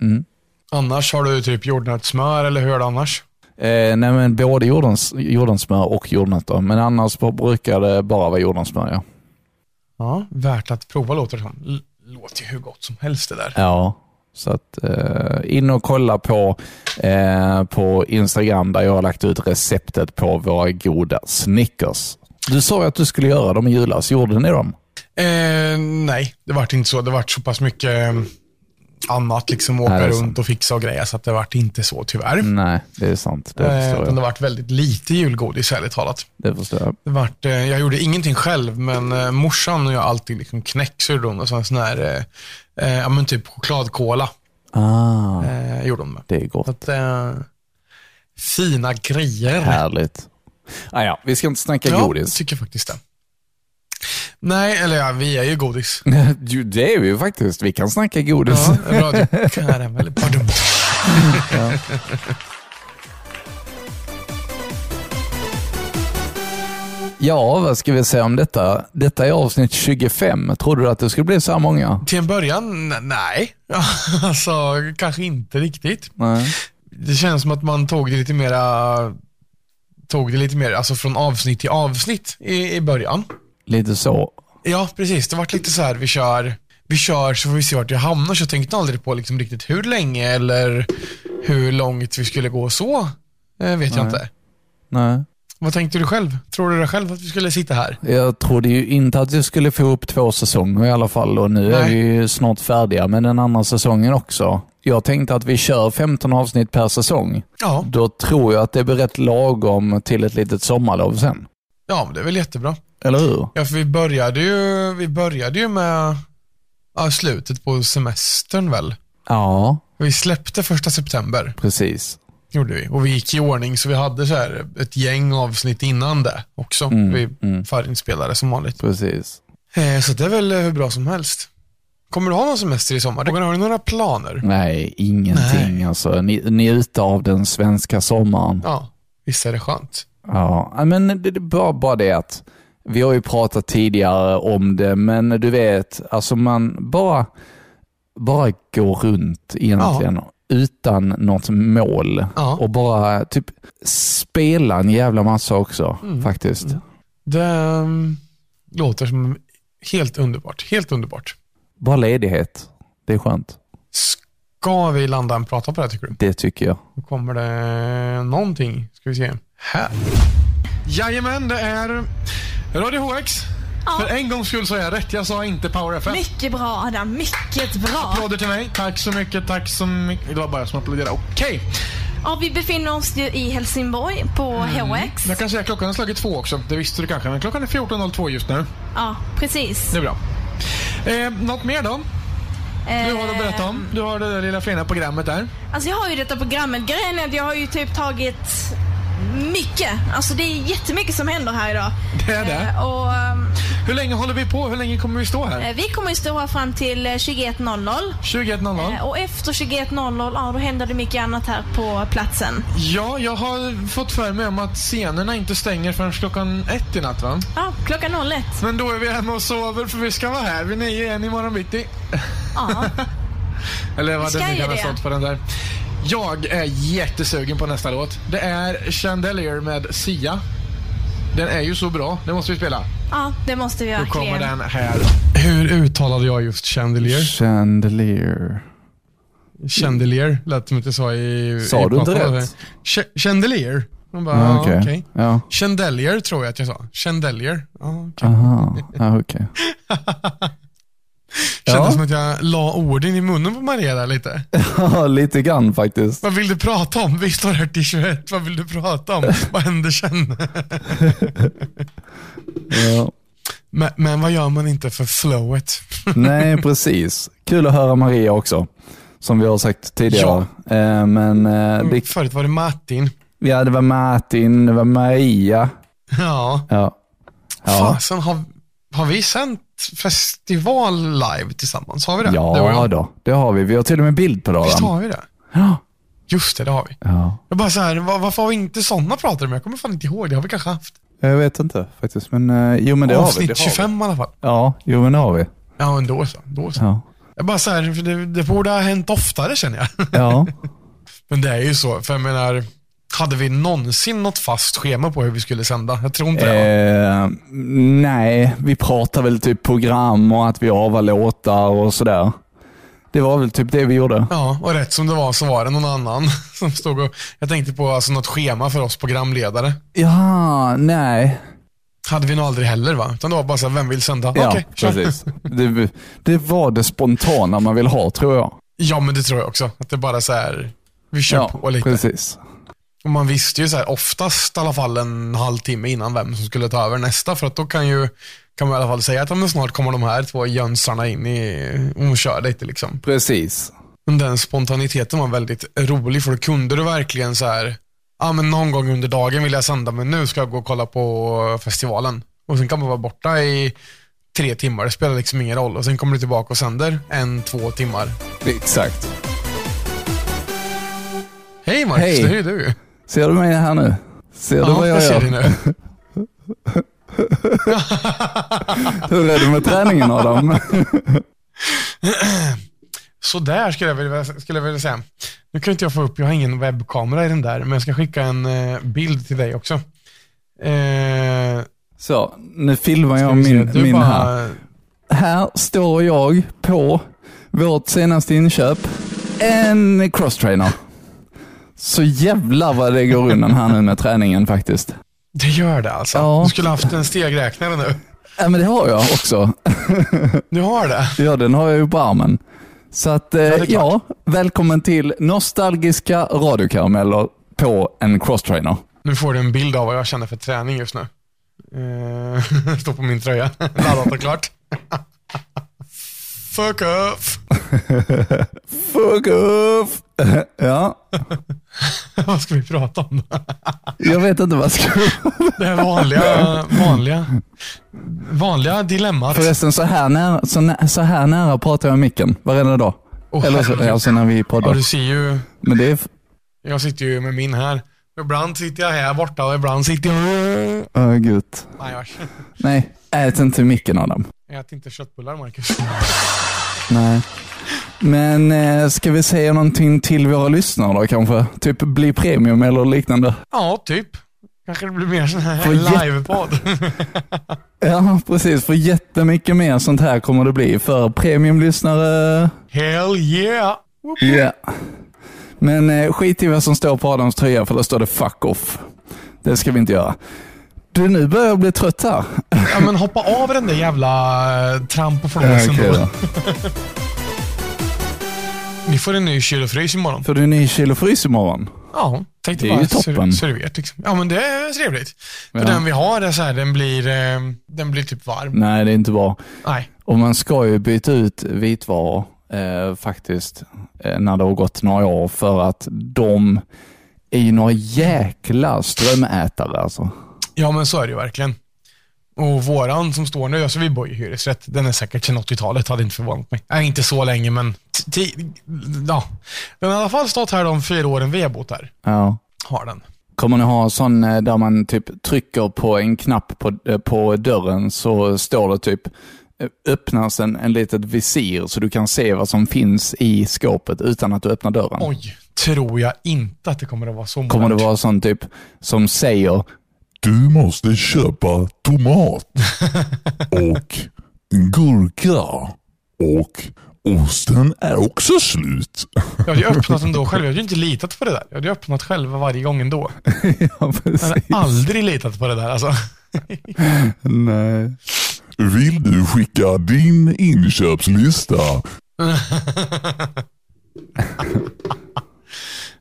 Speaker 2: Mm.
Speaker 3: Annars har du typ jordnötssmör eller hur är det annars?
Speaker 2: Eh, nej, men både jordens, jordensmör och jordnötter. Men annars brukar det bara vara jordensmör, ja.
Speaker 3: Ja, värt att prova låter det som. L- Låter ju hur gott som helst det där.
Speaker 2: Ja, så att eh, in och kolla på, eh, på Instagram där jag har lagt ut receptet på våra goda Snickers. Du sa ju att du skulle göra dem i julas. Gjorde ni dem?
Speaker 3: Eh, nej, det vart inte så. Det vart så pass mycket ehm, annat, liksom åka
Speaker 2: Nej, det är sant.
Speaker 3: runt och fixa och greja, så att det vart inte så tyvärr.
Speaker 2: Nej, det är sant. Det
Speaker 3: Eh,
Speaker 2: förstår
Speaker 3: utan det
Speaker 2: jag.
Speaker 3: vart väldigt lite julgodis, ärligt talat.
Speaker 2: Det förstår jag.
Speaker 3: Det vart, eh, jag gjorde ingenting själv, men eh, morsan och jag alltid liksom knäcksur hon och så en sån här, eh, eh, ja men typ chokladkola
Speaker 2: Ah,
Speaker 3: eh, gjorde hon med.
Speaker 2: det är
Speaker 3: Så
Speaker 2: gott.
Speaker 3: att, eh, fina grejer.
Speaker 2: Härligt. Ah, ja, vi ska inte snacka
Speaker 3: ja,
Speaker 2: godis.
Speaker 3: tycker faktiskt det. Nej, eller ja, vi är ju godis.
Speaker 2: Jo, det är vi ju faktiskt. Vi kan snacka godis.
Speaker 3: Ja, radiokaramell. Badum.
Speaker 2: Ja, vad ska vi säga om detta? Detta är avsnitt 25. Tror du att det skulle bli så här många?
Speaker 3: Till en början, n- nej. alltså, kanske inte riktigt.
Speaker 2: Nej.
Speaker 3: Det känns som att man tog det lite mera, tog det lite mer, alltså från avsnitt till avsnitt i, i början.
Speaker 2: Lite så.
Speaker 3: Ja, precis. Det vart lite så här, vi kör, vi kör så får vi se vart jag hamnar. Så jag tänkte aldrig på liksom riktigt hur länge eller hur långt vi skulle gå så. Eh, vet jag inte.
Speaker 2: Nej.
Speaker 3: Vad tänkte du själv? Tror du det själv att vi skulle sitta här?
Speaker 2: Jag trodde ju inte att vi skulle få upp två säsonger i alla fall och nu är
Speaker 3: Nej.
Speaker 2: vi ju snart färdiga med den andra säsongen också. Jag tänkte att vi kör 15 avsnitt per säsong.
Speaker 3: Ja,
Speaker 2: Då tror jag att det blir rätt lagom till ett litet sommarlov sen.
Speaker 3: ja men det är väl jättebra.
Speaker 2: Eller hur?
Speaker 3: Ja, för vi började ju, vi började ju med ja, slutet på semestern väl?
Speaker 2: Ja,
Speaker 3: Vi släppte första september,
Speaker 2: precis.
Speaker 3: gjorde vi. Och vi gick i ordning, så vi hade så här ett gäng avsnitt innan det också. vi
Speaker 2: mm.
Speaker 3: förinspelade som vanligt.
Speaker 2: Precis.
Speaker 3: Eh, Så det är väl eh, hur bra som helst. Kommer du ha någon semester i sommar? Har du några planer?
Speaker 2: Mm. Nej, ingenting alltså. Ni- Njuta av den svenska sommaren.
Speaker 3: Ja, visst är det skönt?
Speaker 2: Ja, ja, men det, det, bara, bara det att vi har ju pratat tidigare om det, men du vet, alltså man bara, bara går runt egentligen utan något mål
Speaker 3: Ja.
Speaker 2: och bara typ spela en jävla massa också faktiskt.
Speaker 3: Det mm, låter som helt underbart. Helt underbart.
Speaker 2: Bara ledighet. Det är skönt.
Speaker 3: Ska vi landa och prata på det här tycker du?
Speaker 2: Det tycker jag.
Speaker 3: Nu kommer det någonting. Ska vi se. Här. Jajamän, det är Radio HX. För en gångs skull så är jag rätt. Jag sa inte Power FM.
Speaker 8: Mycket bra Adam, mycket bra.
Speaker 3: Applåder till mig. Tack så mycket, tack så mycket. Det var bara jag som applåderade. Okej.
Speaker 8: Ja, vi befinner oss ju i Helsingborg på HX.
Speaker 3: Jag kan säga att klockan har slagit två också. Det visste du kanske, men klockan är 14.02 just nu.
Speaker 8: Ja, precis.
Speaker 3: Det är bra. Eh, något mer då? Du har att berätta om.
Speaker 8: Eh.
Speaker 3: Du har det där lilla fina programmet där.
Speaker 8: Alltså jag har ju detta programmet. Grejen är att jag har ju typ tagit mycket. Alltså det är jättemycket som händer här idag.
Speaker 3: Det är det.
Speaker 8: Eh, Och
Speaker 3: Hur länge håller vi på? Hur länge kommer vi stå här?
Speaker 8: eh, vi kommer ju stå här fram till eh, 21.00.
Speaker 3: 21.00.
Speaker 8: Eh, Och efter 21.00, ja då händer det mycket annat här på platsen.
Speaker 3: Ja, jag har fått för mig om att scenerna inte stänger förrän klockan ett i natt va?
Speaker 8: Ja, klockan 01.
Speaker 3: Men då är vi hemma och sover för vi ska vara här vid nio igen imorgon bitti.
Speaker 8: Ja.
Speaker 3: Eller vad
Speaker 8: Ska
Speaker 3: det nu
Speaker 8: ju
Speaker 3: kan ha
Speaker 8: det.
Speaker 3: stått på den där. Jag är jättesugen på nästa låt. Det är Chandelier med Sia. Den är ju så bra. Den måste vi spela.
Speaker 8: ja, det måste vi
Speaker 3: Då kommer
Speaker 8: verkligen.
Speaker 3: den här. Hur uttalade jag just Chandelier?
Speaker 2: Chandelier.
Speaker 3: Chandelier lät som att jag sa i...
Speaker 2: Sa
Speaker 3: i
Speaker 2: du inte
Speaker 3: podden.
Speaker 2: rätt?
Speaker 3: Ch- Chandelier. Man bara,
Speaker 2: Ja,
Speaker 3: ja,
Speaker 2: Ah, okej.
Speaker 3: okej.
Speaker 2: Ja,
Speaker 3: Chandelier tror jag att jag sa. Chandelier. Ja, okay.
Speaker 2: aha. Ja, okej.
Speaker 3: Kändes
Speaker 2: Ja.
Speaker 3: som att jag la orden i munnen på Maria där lite.
Speaker 2: Ja, lite grann faktiskt.
Speaker 3: Vad vill du prata om? Vi står här till 21. Vad vill du prata om? Vad händer sen?
Speaker 2: Ja.
Speaker 3: Men, men vad gör man inte för flowet?
Speaker 6: Nej, precis. Kul att höra Maria också, som vi har sagt tidigare. Eh, Men eh, det,
Speaker 3: Förut var det Martin.
Speaker 6: ja, det var Martin, det var Maria.
Speaker 3: Ja.
Speaker 6: Ja. Ja,
Speaker 3: Fasen, har, har vi sänt festival live tillsammans? Har vi det? det var
Speaker 6: ja
Speaker 3: jag.
Speaker 6: då, det har vi. Vi har till och med bild på det.
Speaker 3: Visst
Speaker 6: Adam.
Speaker 3: har vi det?
Speaker 6: Ja.
Speaker 3: Just det, det har vi.
Speaker 6: ja.
Speaker 3: Jag bara så här, va- varför har vi inte sådana pratare med? Jag kommer fan inte ihåg. Det har vi kanske haft.
Speaker 6: Jag vet inte faktiskt, men eh, jo men det har vi.
Speaker 3: Avsnitt
Speaker 6: Det har
Speaker 3: 25 i alla fall.
Speaker 6: vi. Ja, jo men det har vi.
Speaker 3: Ja, men då så. Då så.
Speaker 6: Ja.
Speaker 3: Jag bara så här, för det, det borde ha hänt oftare känner jag.
Speaker 6: Ja.
Speaker 3: Men det är ju så, för jag menar, hade vi någonsin något fast schema på hur vi skulle sända? Jag tror inte det. va?
Speaker 6: Eh, nej, vi pratar väl typ program och att vi avar låtar och sådär. Det var väl typ det vi gjorde.
Speaker 3: Ja, och rätt som det var så var det någon annan som stod och... Jag tänkte på alltså, något schema för oss programledare.
Speaker 6: Ja, nej.
Speaker 3: Hade vi nog aldrig heller va? Utan det var bara så här, vem vill sända?
Speaker 6: Ja,
Speaker 3: Okej, kör.
Speaker 6: precis. Det, det var det spontana man vill ha tror jag.
Speaker 3: Ja, men det tror jag också. Att det bara så här, vi kör
Speaker 6: Ja,
Speaker 3: på lite.
Speaker 6: precis.
Speaker 3: Och man visste ju så här, oftast i alla fall en halvtimme innan vem som skulle ta över nästa. För att då kan ju kan man i alla fall säga att ja, men snart kommer de här två jönsarna in i, och kör lite liksom.
Speaker 6: Precis.
Speaker 3: Men den spontaniteten var väldigt rolig för då kunde du verkligen så här, ja men någon gång under dagen vill jag sända men nu ska jag gå och kolla på festivalen. Och sen kan man vara borta i tre timmar, det spelar liksom ingen roll. Och sen kommer du tillbaka och sänder en, två timmar.
Speaker 6: Exakt.
Speaker 3: Hej Marcus,
Speaker 6: Hej.
Speaker 3: det är ju du.
Speaker 6: Ser du mig här nu? Ser du vad jag,
Speaker 3: ser dig
Speaker 6: gör?
Speaker 3: nu.
Speaker 6: Hur är det med träningen Adam?
Speaker 3: Sådär skulle jag, vilja, skulle jag vilja säga. Nu kan inte jag få upp, jag har ingen webbkamera i den där, men jag ska skicka en eh, bild till dig också. Eh,
Speaker 6: Så, nu filmar
Speaker 3: ska
Speaker 6: jag
Speaker 3: vi se.
Speaker 6: min,
Speaker 3: Du
Speaker 6: min
Speaker 3: bara-
Speaker 6: här. Här står jag på vårt senaste inköp. En crosstrainer. Så jävlar vad det går undan här nu med träningen faktiskt.
Speaker 3: Det gör det alltså.
Speaker 6: Ja.
Speaker 3: Du skulle haft en stegräknare nu.
Speaker 6: Ja men det har jag också.
Speaker 3: Du har det?
Speaker 6: Ja den har jag ju på armen. Så att eh,
Speaker 3: det är
Speaker 6: ja,
Speaker 3: klart.
Speaker 6: välkommen till nostalgiska radiokarameller på en crosstrainer.
Speaker 3: Nu får du en bild av vad jag känner för träning just nu. Eh, Står på min tröja. Laddat och klart. Fuck off!
Speaker 6: Fuck off! ja,
Speaker 3: Vad ska vi prata om då?
Speaker 6: jag vet inte vad jag ska...
Speaker 3: Det här vanliga, vanliga, vanliga dilemmat.
Speaker 6: Förresten så här nära, så nä, så här nära pratar jag i micken varenda dag.
Speaker 3: Åh,
Speaker 6: Eller så,
Speaker 3: herregud.
Speaker 6: alltså när vi
Speaker 3: ja,
Speaker 6: poddar.
Speaker 3: du ser ju.
Speaker 6: Men det är... f-
Speaker 3: Jag sitter ju med min här. Ibland sitter jag här borta och ibland sitter jag...
Speaker 6: Åh gud.
Speaker 3: Nej, jag
Speaker 6: Nej, ät inte micken Adam.
Speaker 3: ät inte köttbullar, Marcus.
Speaker 6: Nej. Men eh, ska vi säga någonting till våra lyssnare då kanske? Typ bli premium eller liknande?
Speaker 3: Ja, typ. Kanske det blir mer sån här
Speaker 6: Får jätte-
Speaker 3: livepodd.
Speaker 6: Ja, precis. För jättemycket mer sånt här kommer det bli för premiumlyssnare.
Speaker 3: Hell yeah!
Speaker 6: Ja. Men eh, skit i vad som står på Adams tröja för där står det fuck off. Det ska vi inte göra. Du, nu börjar jag bli trött här.
Speaker 3: Ja, men hoppa av den där jävla eh, tramp och
Speaker 6: Ja,
Speaker 3: flåsen
Speaker 6: okej
Speaker 3: då.
Speaker 6: då.
Speaker 3: Ni får en ny kyl och frys imorgon.
Speaker 6: För du är ny kyl och frys imorgon.
Speaker 3: Ja, tänkte
Speaker 6: Det är
Speaker 3: bara
Speaker 6: ju toppen.
Speaker 3: ser du vet liksom. Ja, men det är trevligt. För
Speaker 6: Ja. Mm.
Speaker 3: den vi har är så här, den blir, eh, den blir typ varm.
Speaker 6: Nej, det är inte bra.
Speaker 3: Nej.
Speaker 6: Och man ska ju byta ut vitvaror eh, faktiskt eh, när det har gått några år för att de är ju några jäkla strömätare alltså.
Speaker 3: Ja, men så är det ju verkligen. Och våran som står nu, alltså vi bor ju i hyresrätt, den är säkert sedan 80-talet, hade inte förvånat mig. Nej, inte så länge, men t- ti- ja. Den har i alla fall stått här de fyra åren vi har bott här.
Speaker 6: Ja.
Speaker 3: Har den.
Speaker 6: Kommer ni ha sån eh, där man typ trycker på en knapp på, eh, på dörren så står det typ eh, öppnas en, en litet visir så du kan se vad som finns i skåpet utan att du öppnar dörren.
Speaker 3: Oj, tror jag inte att det kommer att vara så
Speaker 6: Kommer det
Speaker 3: modernt.
Speaker 6: vara sån typ som säger
Speaker 7: Du måste köpa tomat och gurka och osten är också slut.
Speaker 3: Jag hade ju öppnat ändå själv. Jag hade ju inte litat på det där. Jag hade ju öppnat själva varje gång ändå.
Speaker 6: ja,
Speaker 3: Jag hade
Speaker 6: precis.
Speaker 3: aldrig litat på det där alltså.
Speaker 6: Nej.
Speaker 7: Vill du skicka din inköpslista?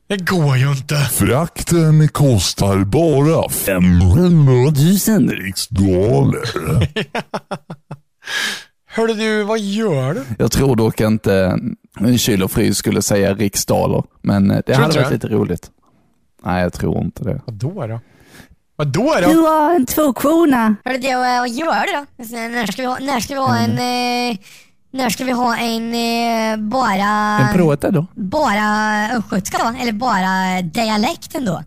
Speaker 3: Det går ju inte.
Speaker 7: Frakten kostar bara 500 000 riksdaler.
Speaker 3: Hörde du, vad gör du?
Speaker 6: Jag tror dock inte eh, Kyl och Frys skulle säga riksdaler, men eh, det hade
Speaker 3: inte
Speaker 6: varit
Speaker 3: det?
Speaker 6: lite roligt. Nej, jag tror inte det.
Speaker 3: Vadå då? Vadå
Speaker 9: Du
Speaker 3: då?
Speaker 9: har en tvåkrona.
Speaker 7: Hörru du, eh, vad gör du då? Sen När ska vi ha, när ska vi
Speaker 3: Mm.
Speaker 7: ha en... Eh, när ska vi ha en eh, bara...
Speaker 6: En prata då?
Speaker 7: bara östgötska då, eller bara dialekten då.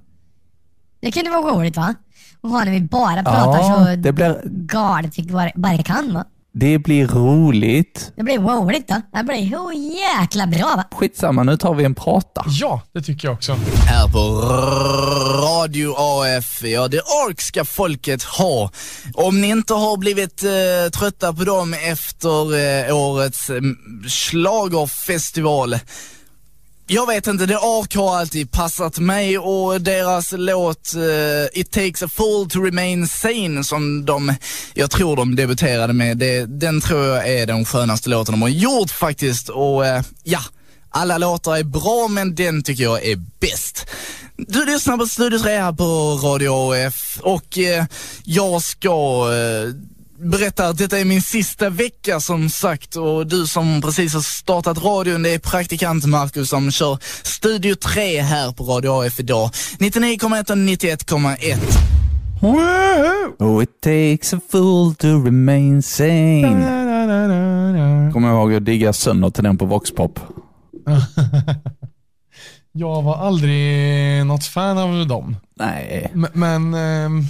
Speaker 7: Det kunde vara roligt va? Och ha när vi bara pratar så
Speaker 6: det blir,
Speaker 7: galet vi bara, bara kan va?
Speaker 6: det blir roligt.
Speaker 7: Det blir roligt då. Det blir så jäkla bra va?
Speaker 6: Skitsamma, nu tar vi en prata.
Speaker 3: Ja, det tycker jag också.
Speaker 2: Här på Radio AF, ja det orkska folket ha. Om ni inte har blivit eh, trötta på dem efter eh, årets eh, schlagerfestival Jag vet inte, det Ark har alltid passat mig och deras låt eh, It takes a fool to remain sane som de, jag tror de debuterade med, det, den tror jag är den skönaste låten de har gjort faktiskt och eh, ja, alla låtar är bra men den tycker jag är bäst. Du lyssnar på Studio 3 här på Radio AF och eh, jag ska eh, berättar att detta är min sista vecka som sagt och du som precis har startat radion, det är praktikant Marcus som kör Studio 3 här på Radio AF idag. 99,1 och 91,1.
Speaker 6: Oh, it takes a fool to remain sane. Kommer jag ihåg att digga sönder till den på Voxpop.
Speaker 3: Jag var aldrig något fan av dem.
Speaker 6: Nej.
Speaker 3: M- Men ehm,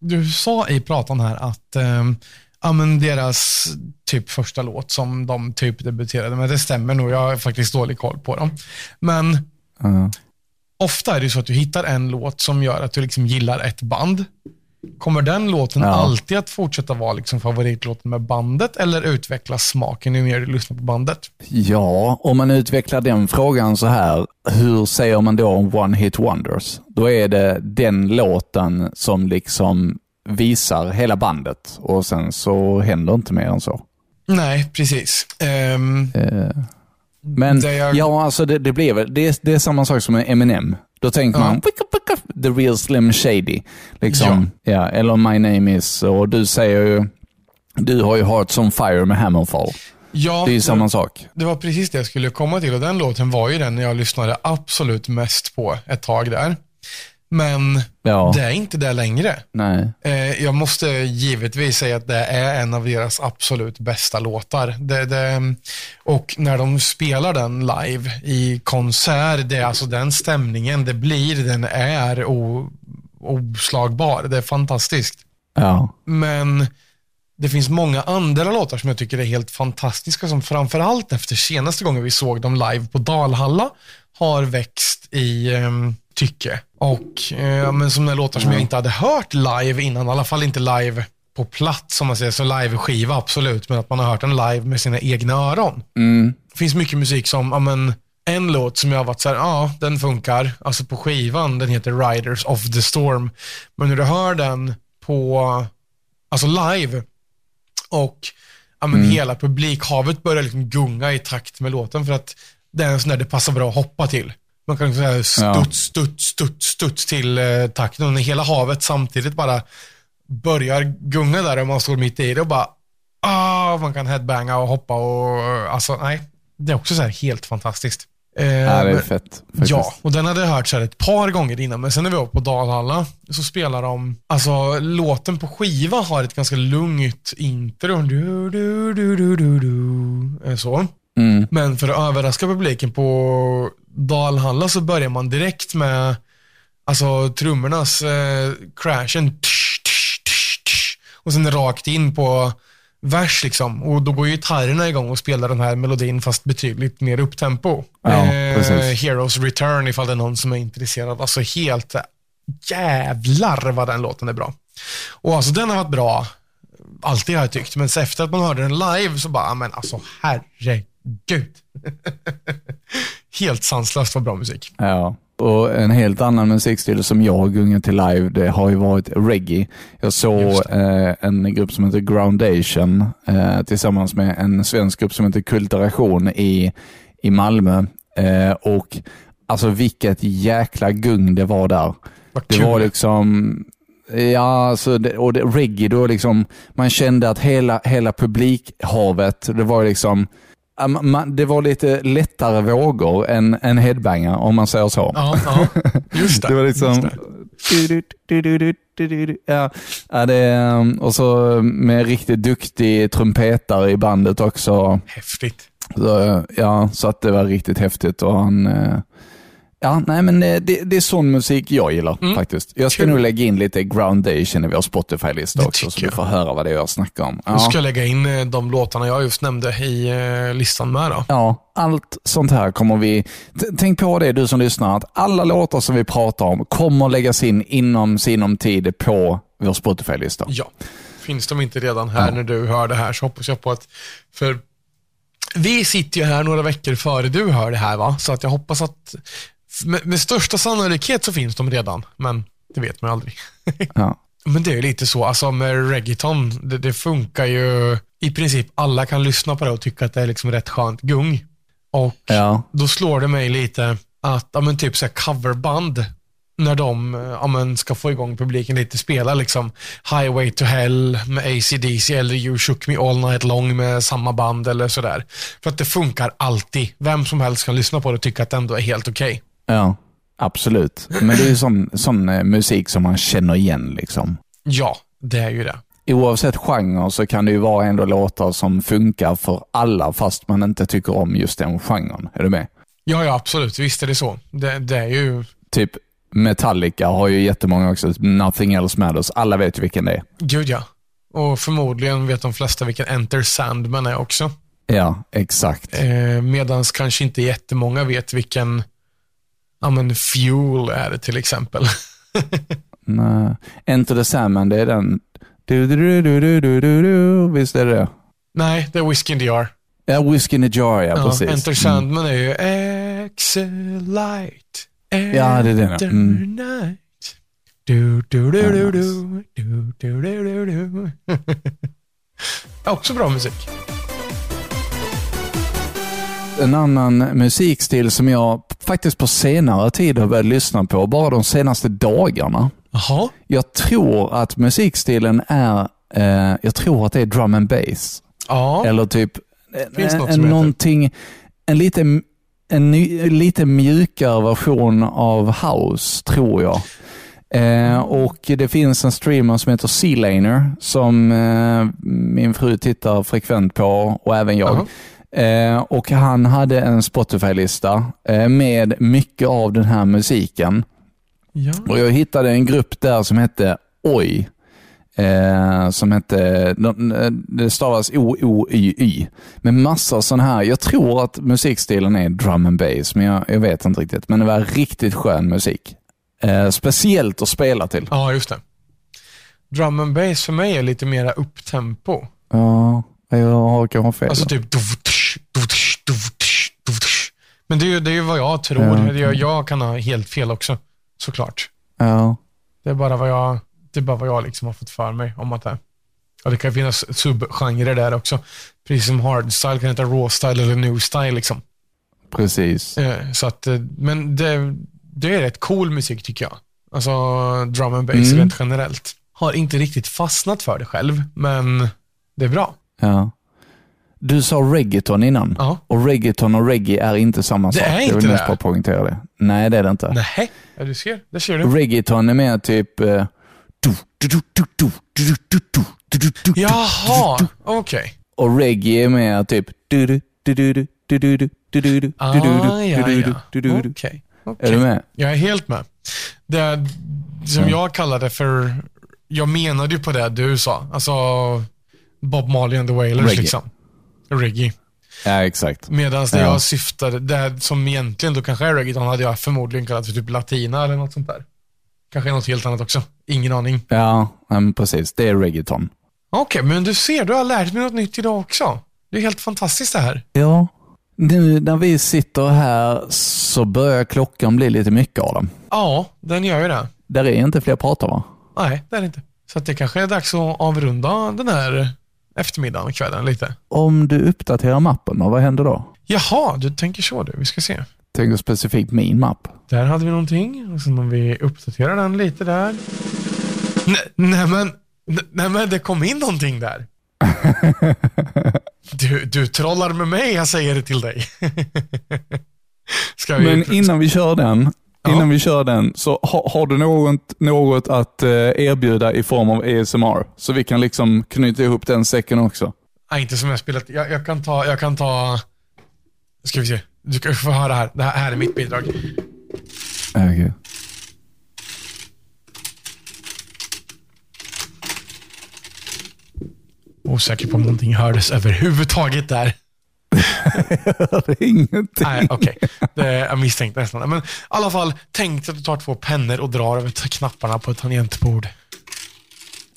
Speaker 3: du sa i pratan här att ehm, ja, men deras typ första låt som de typ debuterade med, det stämmer nog. Jag har faktiskt dålig koll på dem. Men
Speaker 6: Ja.
Speaker 3: ofta är det ju så att du hittar en låt som gör att du liksom gillar ett band. Kommer den låten
Speaker 6: Ja.
Speaker 3: alltid att fortsätta vara liksom favoritlåten med bandet eller utvecklas smaken ju mer du lyssnar på bandet?
Speaker 6: Ja, om man utvecklar den frågan så här, hur säger man då om One Hit Wonders? Då är det den låten som liksom visar hela bandet och sen så händer inte mer än så. Eh,
Speaker 3: Nej, precis. Ehm,
Speaker 6: Men
Speaker 3: Det jag-
Speaker 6: ja, alltså det, det blir väl, det, är- det är samma sak som med Eminem. Då tänker man, "Wicka, wicka, the real Slim Shady. Liksom. Ja. eller My Name Is, och du säger ju, du har ju Hearts on Fire med Hammerfall.
Speaker 3: ja,
Speaker 6: Det är ju samma sak.
Speaker 3: Det var precis det jag skulle komma till och den låten var ju den jag lyssnade absolut mest på ett tag där. Men
Speaker 6: Ja,
Speaker 3: det är inte det längre.
Speaker 6: nej.
Speaker 3: Eh, jag måste givetvis säga att det är en av deras absolut bästa låtar. Det, det, och när de spelar den live i konsert, det är alltså den stämningen det blir, den är o, oslagbar. Det är fantastiskt.
Speaker 6: Ja.
Speaker 3: Men det finns många andra låtar som jag tycker är helt fantastiska som framförallt efter senaste gången vi såg dem live på Dalhalla har växt i ehm, tycke. Och eh, men som är låtar som jag inte hade hört live innan, i alla fall inte live på plats som man säger, så live-skiva absolut, men att man har hört den live med sina egna öron. Det finns mycket musik som, ja men en låt som jag har varit så här, ja den funkar, alltså på skivan, den heter Riders of the Storm. Men när du hör den på alltså live och ja, men hela publikhavet börjar liksom gunga i takt med låten för att det är en sån där det passar bra att hoppa till. Man kan liksom så här
Speaker 6: Ja.
Speaker 3: studs, studs, studs, studs till eh, takten och när hela havet samtidigt bara börjar gunga där och man står mitt i det och bara ah, man kan headbanga och hoppa och alltså nej, det är också så här helt fantastiskt. Eh,
Speaker 6: Ja, det är
Speaker 3: men-
Speaker 6: fett. Faktiskt.
Speaker 3: Ja, och den hade jag hört så här ett par gånger innan, men sen när vi var på Dalhalla så spelar de, alltså låten på skiva har ett ganska lugnt intro. Du, du, du, du, du, du, eh, så.
Speaker 6: Mm.
Speaker 3: Men för att överraska publiken på Dalhalla så börjar man direkt med alltså trummornas eh, crashen. Tsch, tsch, tsch, tsch. Och sen rakt in på vers liksom. Och då går ju gitarrerna igång och spelar den här melodin fast betydligt mer upptempo. Eh,
Speaker 6: Ja, precis.
Speaker 3: Heroes Return ifall det är någon som är intresserad. Alltså helt eh, jävlar vad den låten är bra. Och alltså den har varit bra alltid har jag tyckt, men så efter att man hörde den live så bara, "Ah, men alltså herregud. Helt sanslöst vad bra musik.
Speaker 6: Ja. Och en helt annan musikstil som jag har gungat till live, det har ju varit reggae. Jag såg
Speaker 3: Just
Speaker 6: eh, en grupp som heter Groundation eh, tillsammans med en svensk grupp som heter Kulturation i, i Malmö. Eh, och alltså vilket jäkla gung det var där.
Speaker 3: Vad
Speaker 6: Det
Speaker 3: kul.
Speaker 6: var liksom Ja, alltså, det, och det, reggae då liksom, man kände att hela, hela publikhavet, det var liksom, ja, ma- ma- det var lite lättare vågor än, än headbanger om man säger så.
Speaker 3: Ja, ja. Just det.
Speaker 6: Det var
Speaker 3: just
Speaker 6: liksom...
Speaker 3: det.
Speaker 6: Ja, ja, det, och så med riktigt duktig trumpetare i bandet också.
Speaker 3: Häftigt.
Speaker 6: Så, eh, ja, så att det var riktigt häftigt. Och han, eh, ja, nej, men eh, det, det är sån musik jag gillar faktiskt. Jag ska
Speaker 3: Mm. Kul.
Speaker 6: nog lägga in lite Groundation i vår Spotify-lista
Speaker 3: Det
Speaker 6: också, så
Speaker 3: tycker
Speaker 6: du får höra vad det är jag snackar om.
Speaker 3: Då
Speaker 6: Ja,
Speaker 3: ska jag lägga in eh, de låtarna jag just nämnde i eh, listan med. Då.
Speaker 6: ja, allt sånt här kommer vi... t- Tänk på det du som lyssnar, att alla låtar som vi pratar om kommer läggas in inom sinom tid på vår Spotify-lista.
Speaker 3: Ja. Finns de inte redan här när du hör det här så hoppas jag på att... För vi sitter ju här några veckor före du hör det här va? Så att jag hoppas att... Med, med största sannolikhet så finns de redan, men det vet man aldrig.
Speaker 6: Ja.
Speaker 3: Men det är ju lite så, alltså med reggaeton, det, det funkar ju i princip alla kan lyssna på det och tycka att det är liksom rätt skönt gung. Och
Speaker 6: Ja.
Speaker 3: då slår det mig lite att, ja men typ så här coverband, när de eh, ja, men ska få igång publiken lite, spela liksom Highway to Hell med AC/DC eller You Shook Me All Night Long med samma band eller sådär. För att det funkar alltid. Vem som helst kan lyssna på det och tycka att det ändå är helt okej.
Speaker 6: Ja, absolut. Men det är ju sån, sån eh, musik som man känner igen. liksom.
Speaker 3: Ja, det är ju det.
Speaker 6: Oavsett genre så kan det ju vara ändå låtar som funkar för alla fast man inte tycker om just den genren. Är du med?
Speaker 3: Ja, ja absolut. Visst är det så. Det, det är ju
Speaker 6: Typ Metallica har ju jättemånga också. Nothing else matters. Alla vet ju vilken det är.
Speaker 3: Gud ja. Och förmodligen vet de flesta vilken Enter Sandman är också.
Speaker 6: Ja, exakt.
Speaker 3: Eh, Medan kanske inte jättemånga vet vilken ja, men Fuel är till exempel.
Speaker 6: Nej. Eh, Enter the Sandman, det är den... Du, du, du, du, du, du, du, du. Visst är det det?
Speaker 3: Nej, det är Whiskey in the Jar.
Speaker 6: Ja, Whiskey in a jar, ja,
Speaker 3: Ja,
Speaker 6: precis.
Speaker 3: Enter
Speaker 6: Mm.
Speaker 3: Sandman är ju Exelite.
Speaker 6: Ja, det är det, ja.
Speaker 3: Enter
Speaker 6: Mm.
Speaker 3: Night. Du, du, du, du,
Speaker 6: Ja,
Speaker 3: du,
Speaker 6: nice.
Speaker 3: du, du, du, du, du. Också bra musik.
Speaker 6: En annan musikstil som jag faktiskt på senare tid har börjat lyssna på, bara de senaste dagarna.
Speaker 3: Jaha.
Speaker 6: Jag tror att musikstilen är, eh, jag tror att det är drum and bass.
Speaker 3: Ja.
Speaker 6: Eller typ
Speaker 3: Finns
Speaker 6: en,
Speaker 3: något som heter?
Speaker 6: någonting, en lite, en ny, en lite mjukare version av house, tror jag. Eh, och Det finns en streamer som heter Sealaner som eh, min fru tittar frekvent på och även jag.
Speaker 3: Jaha.
Speaker 6: Eh, och Han hade en Spotify-lista eh, med mycket av den här musiken.
Speaker 3: ja.
Speaker 6: Och Jag hittade en grupp där som hette Oj. Eh, som hette, de- eh, det stavas O-O-Y-Y. Med massa sån här, jag tror att musikstilen är drum and bass, men jag, jag vet inte riktigt. Men det var riktigt skön musik. Eh, speciellt att spela till.
Speaker 3: Ja, just det. Drum and bass för mig är lite mera upptempo.
Speaker 6: Ja, jag har kanske fel.
Speaker 3: Alltså typ dovtsch, dovtsch, dovtsch, dovtsch. Men det är, ju, det är ju vad jag tror.
Speaker 6: Ja.
Speaker 3: Jag, jag kan ha helt fel också, såklart.
Speaker 6: ja.
Speaker 3: Det är bara vad jag, det är bara vad jag liksom har fått för mig om att det är. Ja, det kan finnas subgenrer där också. Precis som hardstyle kan heta raw style eller new style. Liksom.
Speaker 6: Precis.
Speaker 3: Eh, Så att, eh, men det, det är rätt cool musik tycker jag. Alltså drum and bass
Speaker 6: Mm.
Speaker 3: rent generellt. Har inte riktigt fastnat för det själv, men det är bra.
Speaker 6: Ja. Du sa reggaeton innan.
Speaker 3: Ja.
Speaker 6: Och reggaeton och reggae är inte samma
Speaker 3: Det
Speaker 6: sak.
Speaker 3: är
Speaker 6: jag
Speaker 3: inte
Speaker 6: vill mest
Speaker 3: det.
Speaker 6: bara poängtera det. Nej, det är det inte.
Speaker 3: Nej. Ja, du ser. Där ser du.
Speaker 6: Reggaeton är mer typ... eh, du, du, du, du, du, du, du, du, du, du, du, du, du.
Speaker 3: Jaha, okej.
Speaker 6: Och reggae är mer typ... du, du, du, du, du, du, du, du, du, du, du, du,
Speaker 3: Ah,
Speaker 6: du, du,
Speaker 3: ja,
Speaker 6: du, du, du,
Speaker 3: ja.
Speaker 6: du, du, du.
Speaker 3: Okej.
Speaker 6: Är du
Speaker 3: okej.
Speaker 6: med?
Speaker 3: Jag är helt med. Det som jag kallade för, jag menade ju på det du sa, alltså Bob Marley and the Wailers
Speaker 6: Reggae.
Speaker 3: liksom. Reggae.
Speaker 6: Ja, exakt.
Speaker 3: Medan det
Speaker 6: Ja.
Speaker 3: jag syftade, det som egentligen då kanske är reggaeton hade jag förmodligen kallat för typ latina eller något sånt där. Kanske något helt annat också. Ingen aning.
Speaker 6: Ja, men precis. Det är reggaeton.
Speaker 3: Okej, men du ser, du har lärt mig något nytt idag också. Det är helt fantastiskt det här.
Speaker 6: Ja. Nu när vi sitter här så börjar klockan bli lite mycket av dem.
Speaker 3: Ja, den gör ju det.
Speaker 6: Där är inte fler pratar va?
Speaker 3: Nej, det är det inte. Så att det kanske är dags att avrunda den här eftermiddagen, kvällen lite.
Speaker 6: Om du uppdaterar mappen, då, vad händer då?
Speaker 3: Jaha, du tänker så du. Vi ska se.
Speaker 6: Tänker specifikt min mapp.
Speaker 3: Där hade vi någonting. Och sen om vi uppdaterar den lite där. Nej, nej, men, nej, nej men det kom in någonting där. Du, du trollar med mig, jag säger det till dig. Ska vi...
Speaker 2: Men innan vi kör den, innan vi kör den så ha, har du något, något att eh, erbjuda i form av ASMR? Så vi kan liksom knyta ihop den säcken också.
Speaker 3: Nej, Ah, inte som jag spelat. Jag, jag kan ta, jag kan ta... Ska vi se. Du ska få höra här. Det här, här är mitt bidrag.
Speaker 2: Okay.
Speaker 3: Osäker på om någonting hördes överhuvudtaget där.
Speaker 2: Ingenting.
Speaker 3: Nej, okej. Det- Jag misstänkte nästan. Men i alla fall, tänk dig att du tar två pennor och drar över t- knapparna på ett tangentbord.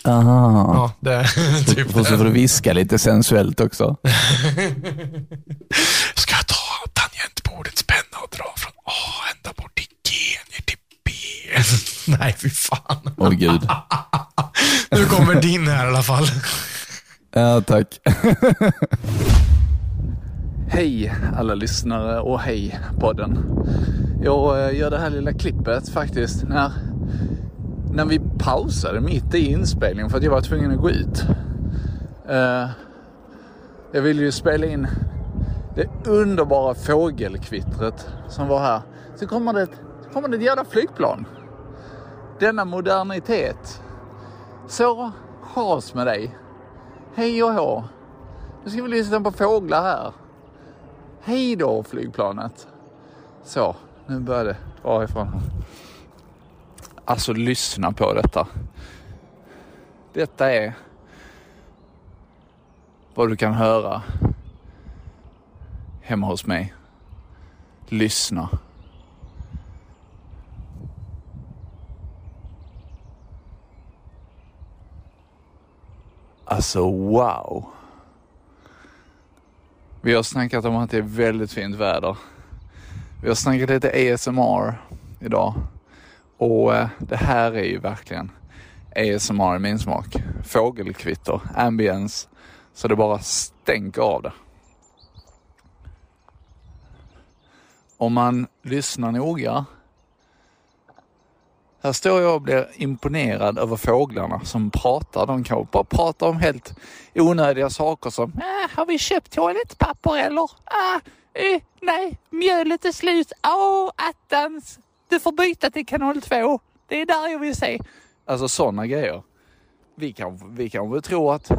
Speaker 2: Aha.
Speaker 3: Ja, det är typ
Speaker 2: Och så får du viska lite sensuellt också.
Speaker 3: Ska jag ta tangentbordets penna och dra från A ända bort till G ner till B? Nej, fy fan.
Speaker 2: Åh gud.
Speaker 3: Nu kommer din här i alla fall.
Speaker 2: Ja, tack. hej alla lyssnare och hej podden. Jag eh, gör det här lilla klippet faktiskt när, när vi pausade mitt i inspelningen för att jag var tvungen att gå ut. Eh, jag ville ju spela in det underbara fågelkvittret som var här. Så kommer det, så kommer det ett jävla flygplan. Denna modernitet. Så chas med dig. Hej och hå. Nu ska vi lyssna på fåglar här. Hej då flygplanet. Så, nu börjar det dra ifrån. Alltså lyssna på detta. Detta är vad du kan höra hemma hos mig. Lyssna. Alltså wow. Vi har snackat om att det är väldigt fint väder. Vi har snackat lite ASMR idag. Och eh, det här är ju verkligen ASMR i min smak. Fågelkvitter, ambience. Så det bara stänker av det. Om man lyssnar noga. Här står jag och blir imponerad över fåglarna som pratar. De kan bara prata om helt onödiga saker som äh, Har vi köpt toalettpapper eller? Äh, eh, nej, mjölet är slut. Åh, attans! Du får byta till kanal 2. Det är där jag vill se. Alltså sådana grejer. Vi kan, vi kan väl tro att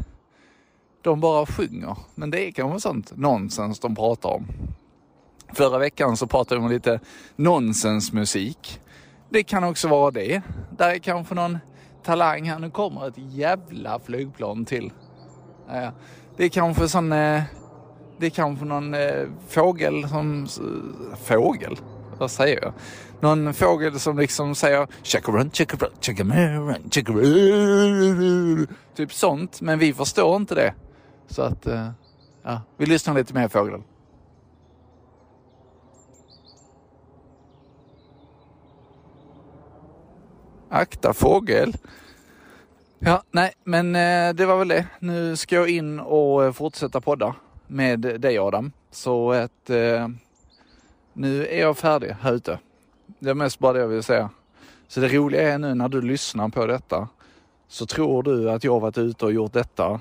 Speaker 2: de bara sjunger. Men det är kanske sånt nonsens de pratar om. Förra veckan så pratade vi om lite nonsensmusik. Det kan också vara det. Där är kanske någon talang här. Nu kommer ett jävla flygplan till. Ja, ja. Det är kanske sån... eh, Det är kanske någon eh, fågel som... s- Fågel? Vad säger jag? Någon fågel som liksom säger chickarun, chickarun, chickarun, chickarun. Typ sånt. Men vi förstår inte det. Så att... eh, Ja, vi lyssnar lite mer fågel. Akta fågel. Ja, nej, men eh, det var väl det. Nu ska jag in och eh, fortsätta podda med dig Adam. Så att eh, nu är jag färdig här ute. Det är mest bara det jag vill säga. Så det roliga är nu när du lyssnar på detta så tror du att jag har varit ute och gjort detta.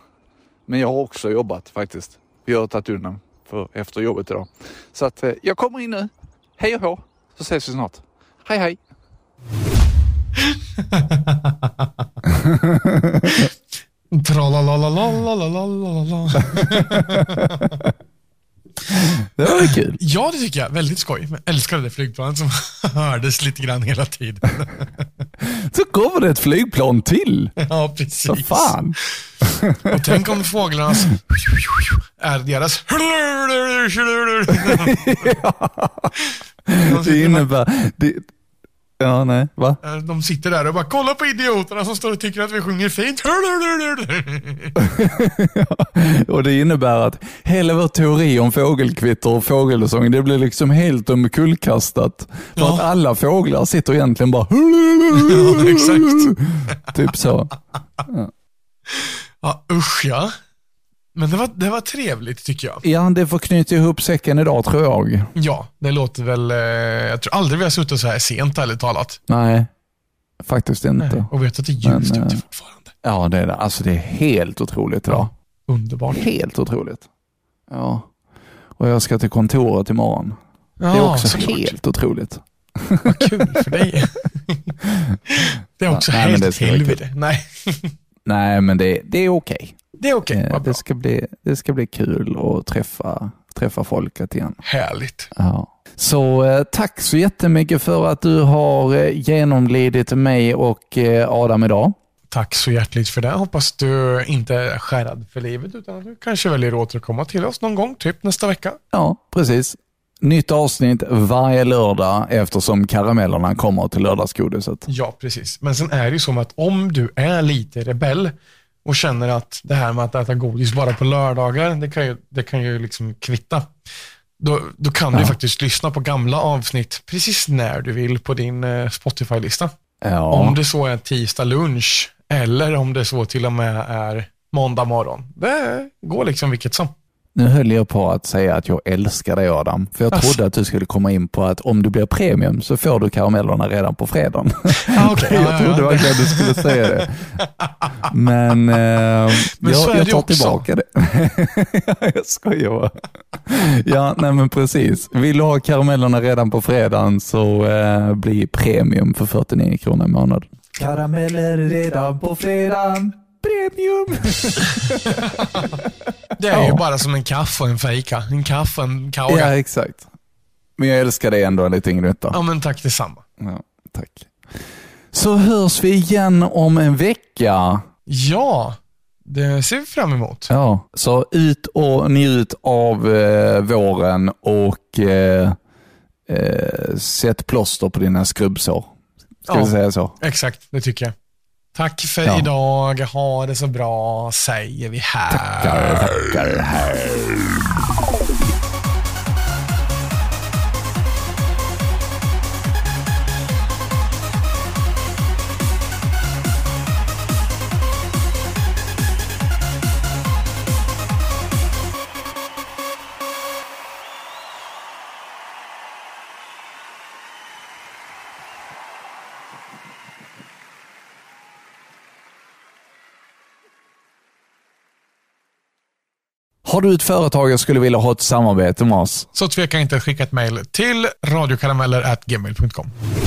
Speaker 2: Men jag har också jobbat faktiskt. Vi har tagit undan för efter jobbet idag. Så att eh, jag kommer in nu. Hej och hå, så ses vi snart. Hej hej!
Speaker 3: Tralalalalalalalala.
Speaker 2: Det var kul.
Speaker 3: Ja, det tycker jag. Väldigt skoj. Jag älskar det där flygplanet som hördes lite grann hela tiden.
Speaker 2: Så kommer det ett flygplan till.
Speaker 3: Ja, precis.
Speaker 2: Så fan.
Speaker 3: Och tänk om fåglarnas är deras
Speaker 2: Det innebär... Det, ja, nej. Va?
Speaker 3: De sitter där och bara kolla på idioterna som står och tycker att vi sjunger fint.
Speaker 2: Och det innebär att hela vår teori om fågelkvitter och fågelsång, det blir liksom helt omkullkastat. För
Speaker 3: Ja.
Speaker 2: att alla fåglar sitter egentligen bara...
Speaker 3: Ja, exakt.
Speaker 2: Typ så.
Speaker 3: Ja, usch ja. Men det var, det var trevligt tycker jag.
Speaker 2: Ja, det får knyta ihop säcken idag tror jag.
Speaker 3: Ja, det låter väl... eh, Jag tror aldrig vi har suttit så här sent ärligt talat.
Speaker 2: Nej. faktiskt inte.
Speaker 3: Nej, Och vet att det är ljust
Speaker 2: Men,
Speaker 3: ute
Speaker 2: eh,
Speaker 3: fortfarande.
Speaker 2: Ja, det är det. Alltså det är helt otroligt idag.
Speaker 3: Underbart.
Speaker 2: Helt otroligt. Ja. Och jag ska till kontoret imorgon. det är också
Speaker 3: såklart.
Speaker 2: helt otroligt.
Speaker 3: Vad kul för dig. det är också
Speaker 2: Nej, men det
Speaker 3: helt
Speaker 2: ska vara
Speaker 3: helvete. Nej,
Speaker 2: Nej, men det, det är okej.
Speaker 3: det är okej.
Speaker 2: Eh,
Speaker 3: Vad bra.
Speaker 2: Det, ska bli, det ska bli kul att träffa, träffa folket igen.
Speaker 3: Härligt.
Speaker 2: Ja. Så eh, tack så jättemycket för att du har eh, genomlidit mig och eh, Adam idag.
Speaker 3: Tack så hjärtligt för det. Hoppas du inte är skärrad för livet utan att du kanske väljer att återkomma till oss någon gång, typ nästa vecka.
Speaker 2: Ja, precis. Nytt avsnitt varje lördag eftersom karamellerna kommer till lördagsgodiset.
Speaker 3: Ja, precis. Men sen är det ju som att om du är lite rebell och känner att det här med att äta godis bara på lördagar, det kan ju, det kan ju liksom kvitta. Då, då kan du faktiskt lyssna på gamla avsnitt precis när du vill på din eh, Spotify-lista.
Speaker 2: Ja.
Speaker 3: Om det så är tisdag lunch eller om det så till och med är måndag morgon. Det går liksom vilket som.
Speaker 2: Nu höll jag på att säga att jag älskar dig Adam, för jag
Speaker 3: Asså.
Speaker 2: trodde att du skulle komma in på att om du blir premium så får du karamellerna redan på fredagen.
Speaker 3: Ah, okej. Ja, ja,
Speaker 2: jag trodde
Speaker 3: ja.
Speaker 2: verkligen att du skulle säga det. Men, eh,
Speaker 3: så
Speaker 2: jag,
Speaker 3: är
Speaker 2: jag
Speaker 3: det
Speaker 2: tar
Speaker 3: också.
Speaker 2: tillbaka det. jag skojar bara. Ja, nej men precis. Vill du ha karamellerna redan på fredagen så eh, bli premium för 49 kronor i månaden. Karameller redan på fredagen. Premium!
Speaker 3: Det är ju
Speaker 2: Ja.
Speaker 3: bara som en kaffe och en fejka. En kaffe och en kaoga.
Speaker 2: Ja, exakt. Men jag älskar dig ändå lite Ingrid.
Speaker 3: Ja, men tack detsamma.
Speaker 2: Ja, tack. Så hörs vi igen om en vecka.
Speaker 3: Ja, det ser vi fram emot.
Speaker 2: Ja. Så ut och njut av eh, våren och eh, eh, sätt plåster på dina skrubbsår. Ska
Speaker 3: Ja.
Speaker 2: vi säga så?
Speaker 3: Exakt, det tycker jag. Tack för
Speaker 2: Ja.
Speaker 3: idag. Ha det så bra, säger vi här.
Speaker 2: Tackar, hej. Har du ett företag och skulle vilja ha ett samarbete med oss?
Speaker 3: Så tveka inte att skicka ett mejl till radiokarameller.gmail.com.